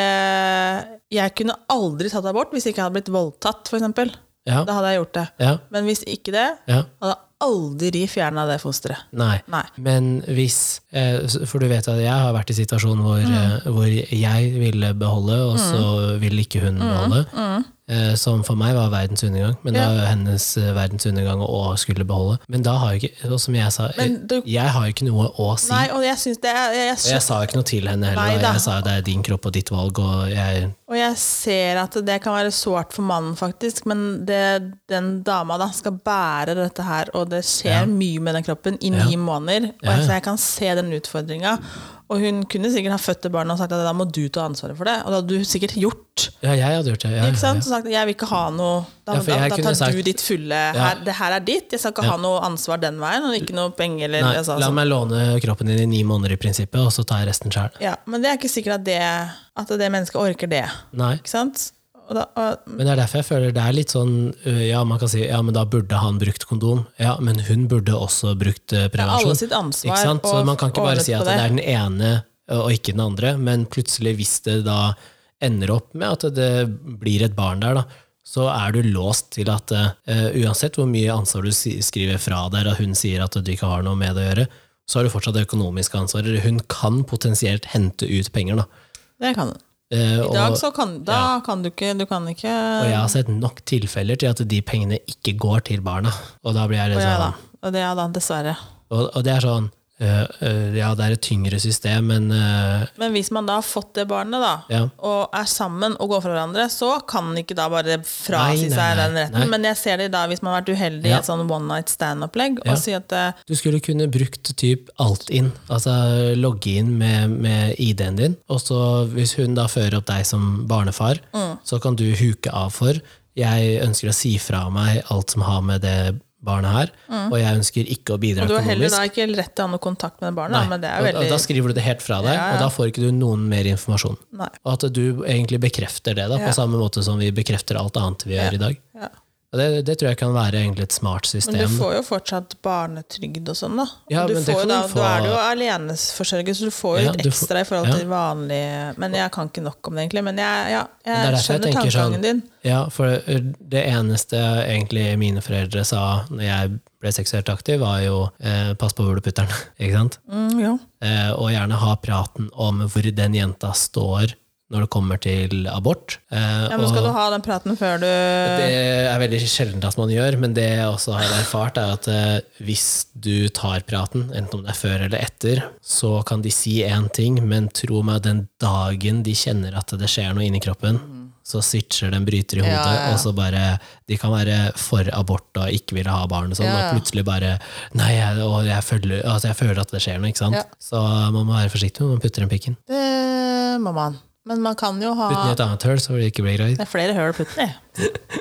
Speaker 2: Jeg kunne aldri tatt abort hvis jeg ikke hadde blitt voldtatt, f.eks.
Speaker 1: Ja.
Speaker 2: Da hadde jeg gjort det.
Speaker 1: Ja.
Speaker 2: Men hvis ikke det,
Speaker 1: ja.
Speaker 2: hadde jeg aldri fjerna det fosteret.
Speaker 1: Nei.
Speaker 2: Nei.
Speaker 1: Men hvis eh, s- For du vet at jeg har vært i situasjonen hvor,
Speaker 2: Mm.
Speaker 1: eh, hvor jeg ville beholde, og så ville ikke
Speaker 2: Mm,
Speaker 1: hun beholde. Eh, Som for meg var verdens undergang, men da er hennes eh, verdens undergang å skulle beholde. Men da har jo ikke Og som jeg sa, eh,
Speaker 2: Men du-
Speaker 1: jeg har jo ikke noe å si.
Speaker 2: Nei, og jeg syns det er jeg,
Speaker 1: Og jeg sa jo ikke noe til henne
Speaker 2: Nei
Speaker 1: heller. og
Speaker 2: da.
Speaker 1: Jeg sa jo det er din kropp og ditt valg, og jeg
Speaker 2: Og jeg ser at det kan være sårt for mannen, faktisk, men det, den dama da skal bære dette her, og det skjer mye med den kroppen i ni måneder. Og
Speaker 1: Ja, ja.
Speaker 2: jeg, så jeg kan se den utfordringa. Og hun kunne sikkert ha født det barnet og sagt at da må du ta ansvaret for det. Og det hadde du sikkert gjort.
Speaker 1: Ja, jeg hadde gjort det. Ja, ja,
Speaker 2: Ikke sant? Så sagt, jeg vil ikke ha noe Da,
Speaker 1: Ja, for jeg
Speaker 2: da, da
Speaker 1: kunne
Speaker 2: tar
Speaker 1: sagt-
Speaker 2: du ditt fulle
Speaker 1: Ja.
Speaker 2: her, Det her er ditt. Jeg skal ikke ha noe ansvar den veien, og ikke noe penger eller
Speaker 1: Nei,
Speaker 2: altså,
Speaker 1: la
Speaker 2: sånn.
Speaker 1: meg låne kroppen din i ni måneder i prinsippet, og så tar jeg resten sjøl.
Speaker 2: ja, Men det er ikke sikkert at det, at det mennesket orker det.
Speaker 1: Nei.
Speaker 2: Ikke sant? Og da, og,
Speaker 1: Men det er derfor jeg føler det er litt sånn øh, Ja, man kan si ja, men da burde han brukt kondom. Ja, men hun burde også brukt øh,
Speaker 2: det er alle
Speaker 1: prevensjon.
Speaker 2: sitt ansvar.
Speaker 1: Ikke sant? Så
Speaker 2: å
Speaker 1: man kan ikke bare
Speaker 2: ordne
Speaker 1: si
Speaker 2: på
Speaker 1: at det er den ene øh, og ikke den andre, men plutselig, hvis det da ender opp med at det blir et barn der, da, så er du låst til at øh, uansett hvor mye ansvar du si- skriver fra der, at hun sier at du ikke har noe med det å gjøre, så har du fortsatt det økonomiske ansvaret. Hun kan potensielt hente ut penger, da.
Speaker 2: Det kan du.
Speaker 1: Eh,
Speaker 2: I
Speaker 1: og-
Speaker 2: dag så kan, da kan du ikke Du kan ikke
Speaker 1: og jeg har sett nok tilfeller til at de pengene ikke går til barna. Og da blir jeg litt
Speaker 2: ja,
Speaker 1: sånn
Speaker 2: da. Og det er da, dessverre.
Speaker 1: Og, og det er sånn øh, øh, Ja, det er et tyngre system, men øh,
Speaker 2: Men hvis man da har fått det barnet, da,
Speaker 1: ja.
Speaker 2: og er sammen og går fra hverandre, så kan man ikke da bare frasi
Speaker 1: Nei, nei, nei,
Speaker 2: seg den retten.
Speaker 1: nei.
Speaker 2: Men jeg ser det da hvis man har vært uheldig i
Speaker 1: Ja.
Speaker 2: et sånn one night stand-opplegg,
Speaker 1: Ja.
Speaker 2: og si at eh,
Speaker 1: Du skulle kunne brukt typ alt inn, altså logge inn med, med ID-en din, og så hvis hun da fører opp deg som barnefar,
Speaker 2: Mm.
Speaker 1: så kan du huke av for jeg ønsker å si fra meg alt som har med det barnet her, og jeg ønsker ikke å bidra
Speaker 2: Mm. Du har heller
Speaker 1: økonomisk.
Speaker 2: da ikke rett til å ha noe kontakt med det barnet,
Speaker 1: Nei,
Speaker 2: da, men det
Speaker 1: og-
Speaker 2: er veldig
Speaker 1: og da skriver du det helt fra deg,
Speaker 2: Ja, ja.
Speaker 1: og da får ikke du noen mer informasjon.
Speaker 2: Nei.
Speaker 1: Og at du egentlig bekrefter det, da, på
Speaker 2: Ja.
Speaker 1: samme måte som vi bekrefter alt annet vi gjør i dag.
Speaker 2: ja.
Speaker 1: Og det, det tror jeg kan være egentlig et smart system.
Speaker 2: Men du får jo fortsatt barnetrygd og sånn, da. Og
Speaker 1: Ja,
Speaker 2: du,
Speaker 1: men det
Speaker 2: får jo
Speaker 1: kan
Speaker 2: da
Speaker 1: du få-
Speaker 2: du er jo aleneforsørger, så du får jo
Speaker 1: Ja,
Speaker 2: litt
Speaker 1: du får-
Speaker 2: ekstra i forhold
Speaker 1: ja.
Speaker 2: til vanlig Men jeg kan ikke nok om det, egentlig. Men jeg, ja,
Speaker 1: Men det er derfor
Speaker 2: jeg
Speaker 1: jeg
Speaker 2: skjønner
Speaker 1: tenker
Speaker 2: tankegangen
Speaker 1: sånn-
Speaker 2: din.
Speaker 1: Ja, for det, det eneste egentlig mine foreldre sa når jeg ble seksuelt aktiv, var jo eh, 'pass på hvor du putter den', ikke sant?
Speaker 2: Mm, jo.
Speaker 1: Eh, og gjerne ha praten om hvor den jenta står når det kommer til abort. Eh,
Speaker 2: Ja, men
Speaker 1: og-
Speaker 2: skal du ha den praten før du
Speaker 1: Det er veldig sjeldent at man gjør, men det jeg også har erfart, er at eh, hvis du tar praten, enten om det er før eller etter, så kan de si én ting, men tro meg, den dagen de kjenner at det skjer noe inni kroppen, så switcher den bryter i hodet,
Speaker 3: Ja, ja, ja.
Speaker 1: og så bare De kan være for abort og ikke ville ha barn og sånn,
Speaker 3: Ja, ja.
Speaker 1: og plutselig bare Nei, jeg, og jeg føler, altså jeg føler at det skjer noe, ikke sant?
Speaker 3: Ja.
Speaker 1: Så man må være forsiktig når man putter den pikken.
Speaker 3: Det må man. Men man kan jo ha
Speaker 1: Putten i et annet hull, så vil det ikke bli gravid.
Speaker 2: Det er flere høl å putte den i.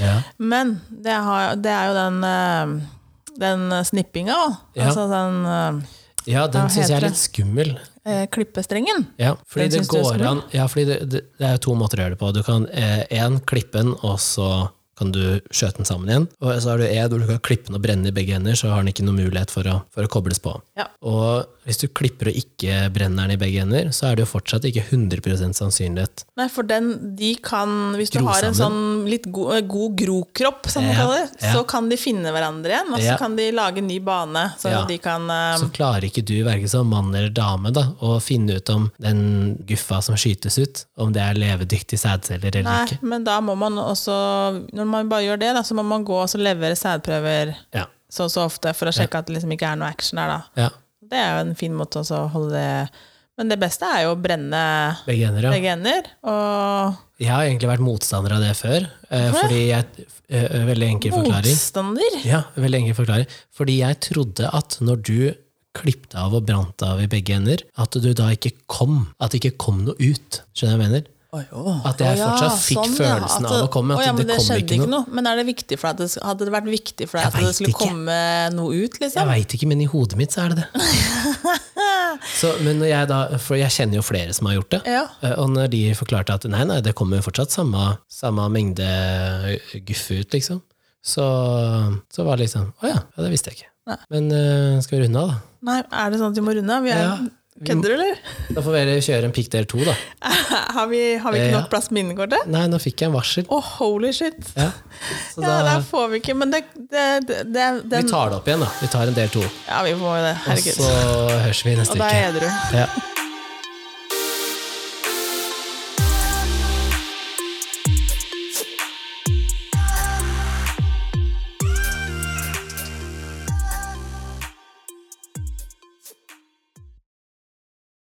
Speaker 1: Ja.
Speaker 2: Men det, har, det er jo den, eh, den snippinga òg.
Speaker 1: Ja.
Speaker 2: Altså den
Speaker 1: ja,
Speaker 2: Hva
Speaker 1: den syns jeg
Speaker 2: heter
Speaker 1: er
Speaker 2: det?
Speaker 1: litt skummel.
Speaker 2: eh, klippestrengen.
Speaker 1: Ja, fordi
Speaker 2: Den
Speaker 1: det
Speaker 2: syns du er
Speaker 1: går
Speaker 2: skummel?
Speaker 1: an Ja, fordi det, det, det er jo to måter å gjøre det på. Du kan én eh, klippe den, og så kan du skjøte den sammen igjen. Og så har du én hvor du kan klippe den og brenne i begge ender, så har den ikke noen mulighet for å, for å kobles på.
Speaker 2: Ja.
Speaker 1: Og hvis du klipper og ikke brenner den i begge ender, så er det jo fortsatt ikke 100 sannsynlighet.
Speaker 2: Nei, for den, de kan Hvis du
Speaker 1: Gro
Speaker 2: har en sånn
Speaker 1: sammen.
Speaker 2: litt go, eh, god grokropp, som man
Speaker 1: Ja,
Speaker 2: kaller det, så
Speaker 1: ja.
Speaker 2: kan de finne hverandre igjen. Og så
Speaker 1: Ja.
Speaker 2: kan de lage en ny bane, så
Speaker 1: Ja.
Speaker 2: de kan eh,
Speaker 1: Så klarer ikke du, verken som mann eller dame, da, å finne ut om den guffa som skytes ut, om det er levedyktige sædceller eller
Speaker 2: Nei,
Speaker 1: ikke.
Speaker 2: men da må man også Når man bare gjør det, da, så må man gå og så levere sædprøver
Speaker 1: Ja.
Speaker 2: så og så ofte for å sjekke at det liksom ikke er noe action der, da.
Speaker 1: ja.
Speaker 2: Det er jo en fin måte også å holde det Men det beste er jo å brenne
Speaker 1: Begge ender, ja.
Speaker 2: begge ender. Og
Speaker 1: Jeg har egentlig vært motstander av det før. eh, Fordi jeg, eh, eh, veldig enkel forklaring.
Speaker 2: Motstander?
Speaker 1: Ja, veldig enkel forklaring. Fordi jeg trodde at når du klippte av og brant av i begge ender, at du da ikke kom, at det ikke kom noe ut. Skjønner du hva jeg mener? At
Speaker 3: Å
Speaker 1: jeg
Speaker 3: ja,
Speaker 1: fortsatt fikk
Speaker 3: sånn, ja.
Speaker 1: følelsen
Speaker 3: At
Speaker 1: av å
Speaker 3: det-
Speaker 1: komme,
Speaker 2: Å
Speaker 1: at
Speaker 2: ja,
Speaker 1: det,
Speaker 2: men det
Speaker 1: kom
Speaker 2: skjedde
Speaker 1: ikke noe.
Speaker 2: Men er det viktig for deg at det, hadde det vært viktig for deg
Speaker 1: Jeg
Speaker 2: at det
Speaker 1: vet
Speaker 2: skulle
Speaker 1: ikke.
Speaker 2: komme noe ut,
Speaker 1: Jeg
Speaker 2: liksom?
Speaker 1: veit ikke, men i hodet mitt så er det det. Så, men når jeg da, for jeg kjenner jo flere som har gjort det.
Speaker 2: Ja.
Speaker 1: Eh, Og når de forklarte at nei, nei, det kommer jo fortsatt samme, samme mengde guffe ut, liksom, så, så var det liksom Å ja, ja, det visste jeg ikke.
Speaker 2: Nei.
Speaker 1: Men eh, skal vi runde av, da?
Speaker 2: Nei, er det sånn at vi må runde av? Vi er-
Speaker 1: Ja, vi må-
Speaker 2: Kødder du, eller?
Speaker 1: Da får dere kjøre en pikk del to, da.
Speaker 2: Har vi, har vi
Speaker 1: Eh,
Speaker 2: ikke
Speaker 1: ja.
Speaker 2: nok plass på minnekortet?
Speaker 1: Nei, nå fikk jeg en varsel.
Speaker 2: Å, holy shit!
Speaker 1: Ja. Så
Speaker 2: Ja,
Speaker 1: da
Speaker 2: der får vi ikke Men det, det, det, det
Speaker 1: Vi
Speaker 2: den,
Speaker 1: tar det opp igjen, da. Vi tar en del to.
Speaker 2: Ja, vi må jo det.
Speaker 1: Og
Speaker 2: Herregud.
Speaker 1: så høres vi neste
Speaker 2: Og da
Speaker 1: uke.
Speaker 2: er du
Speaker 1: Ja.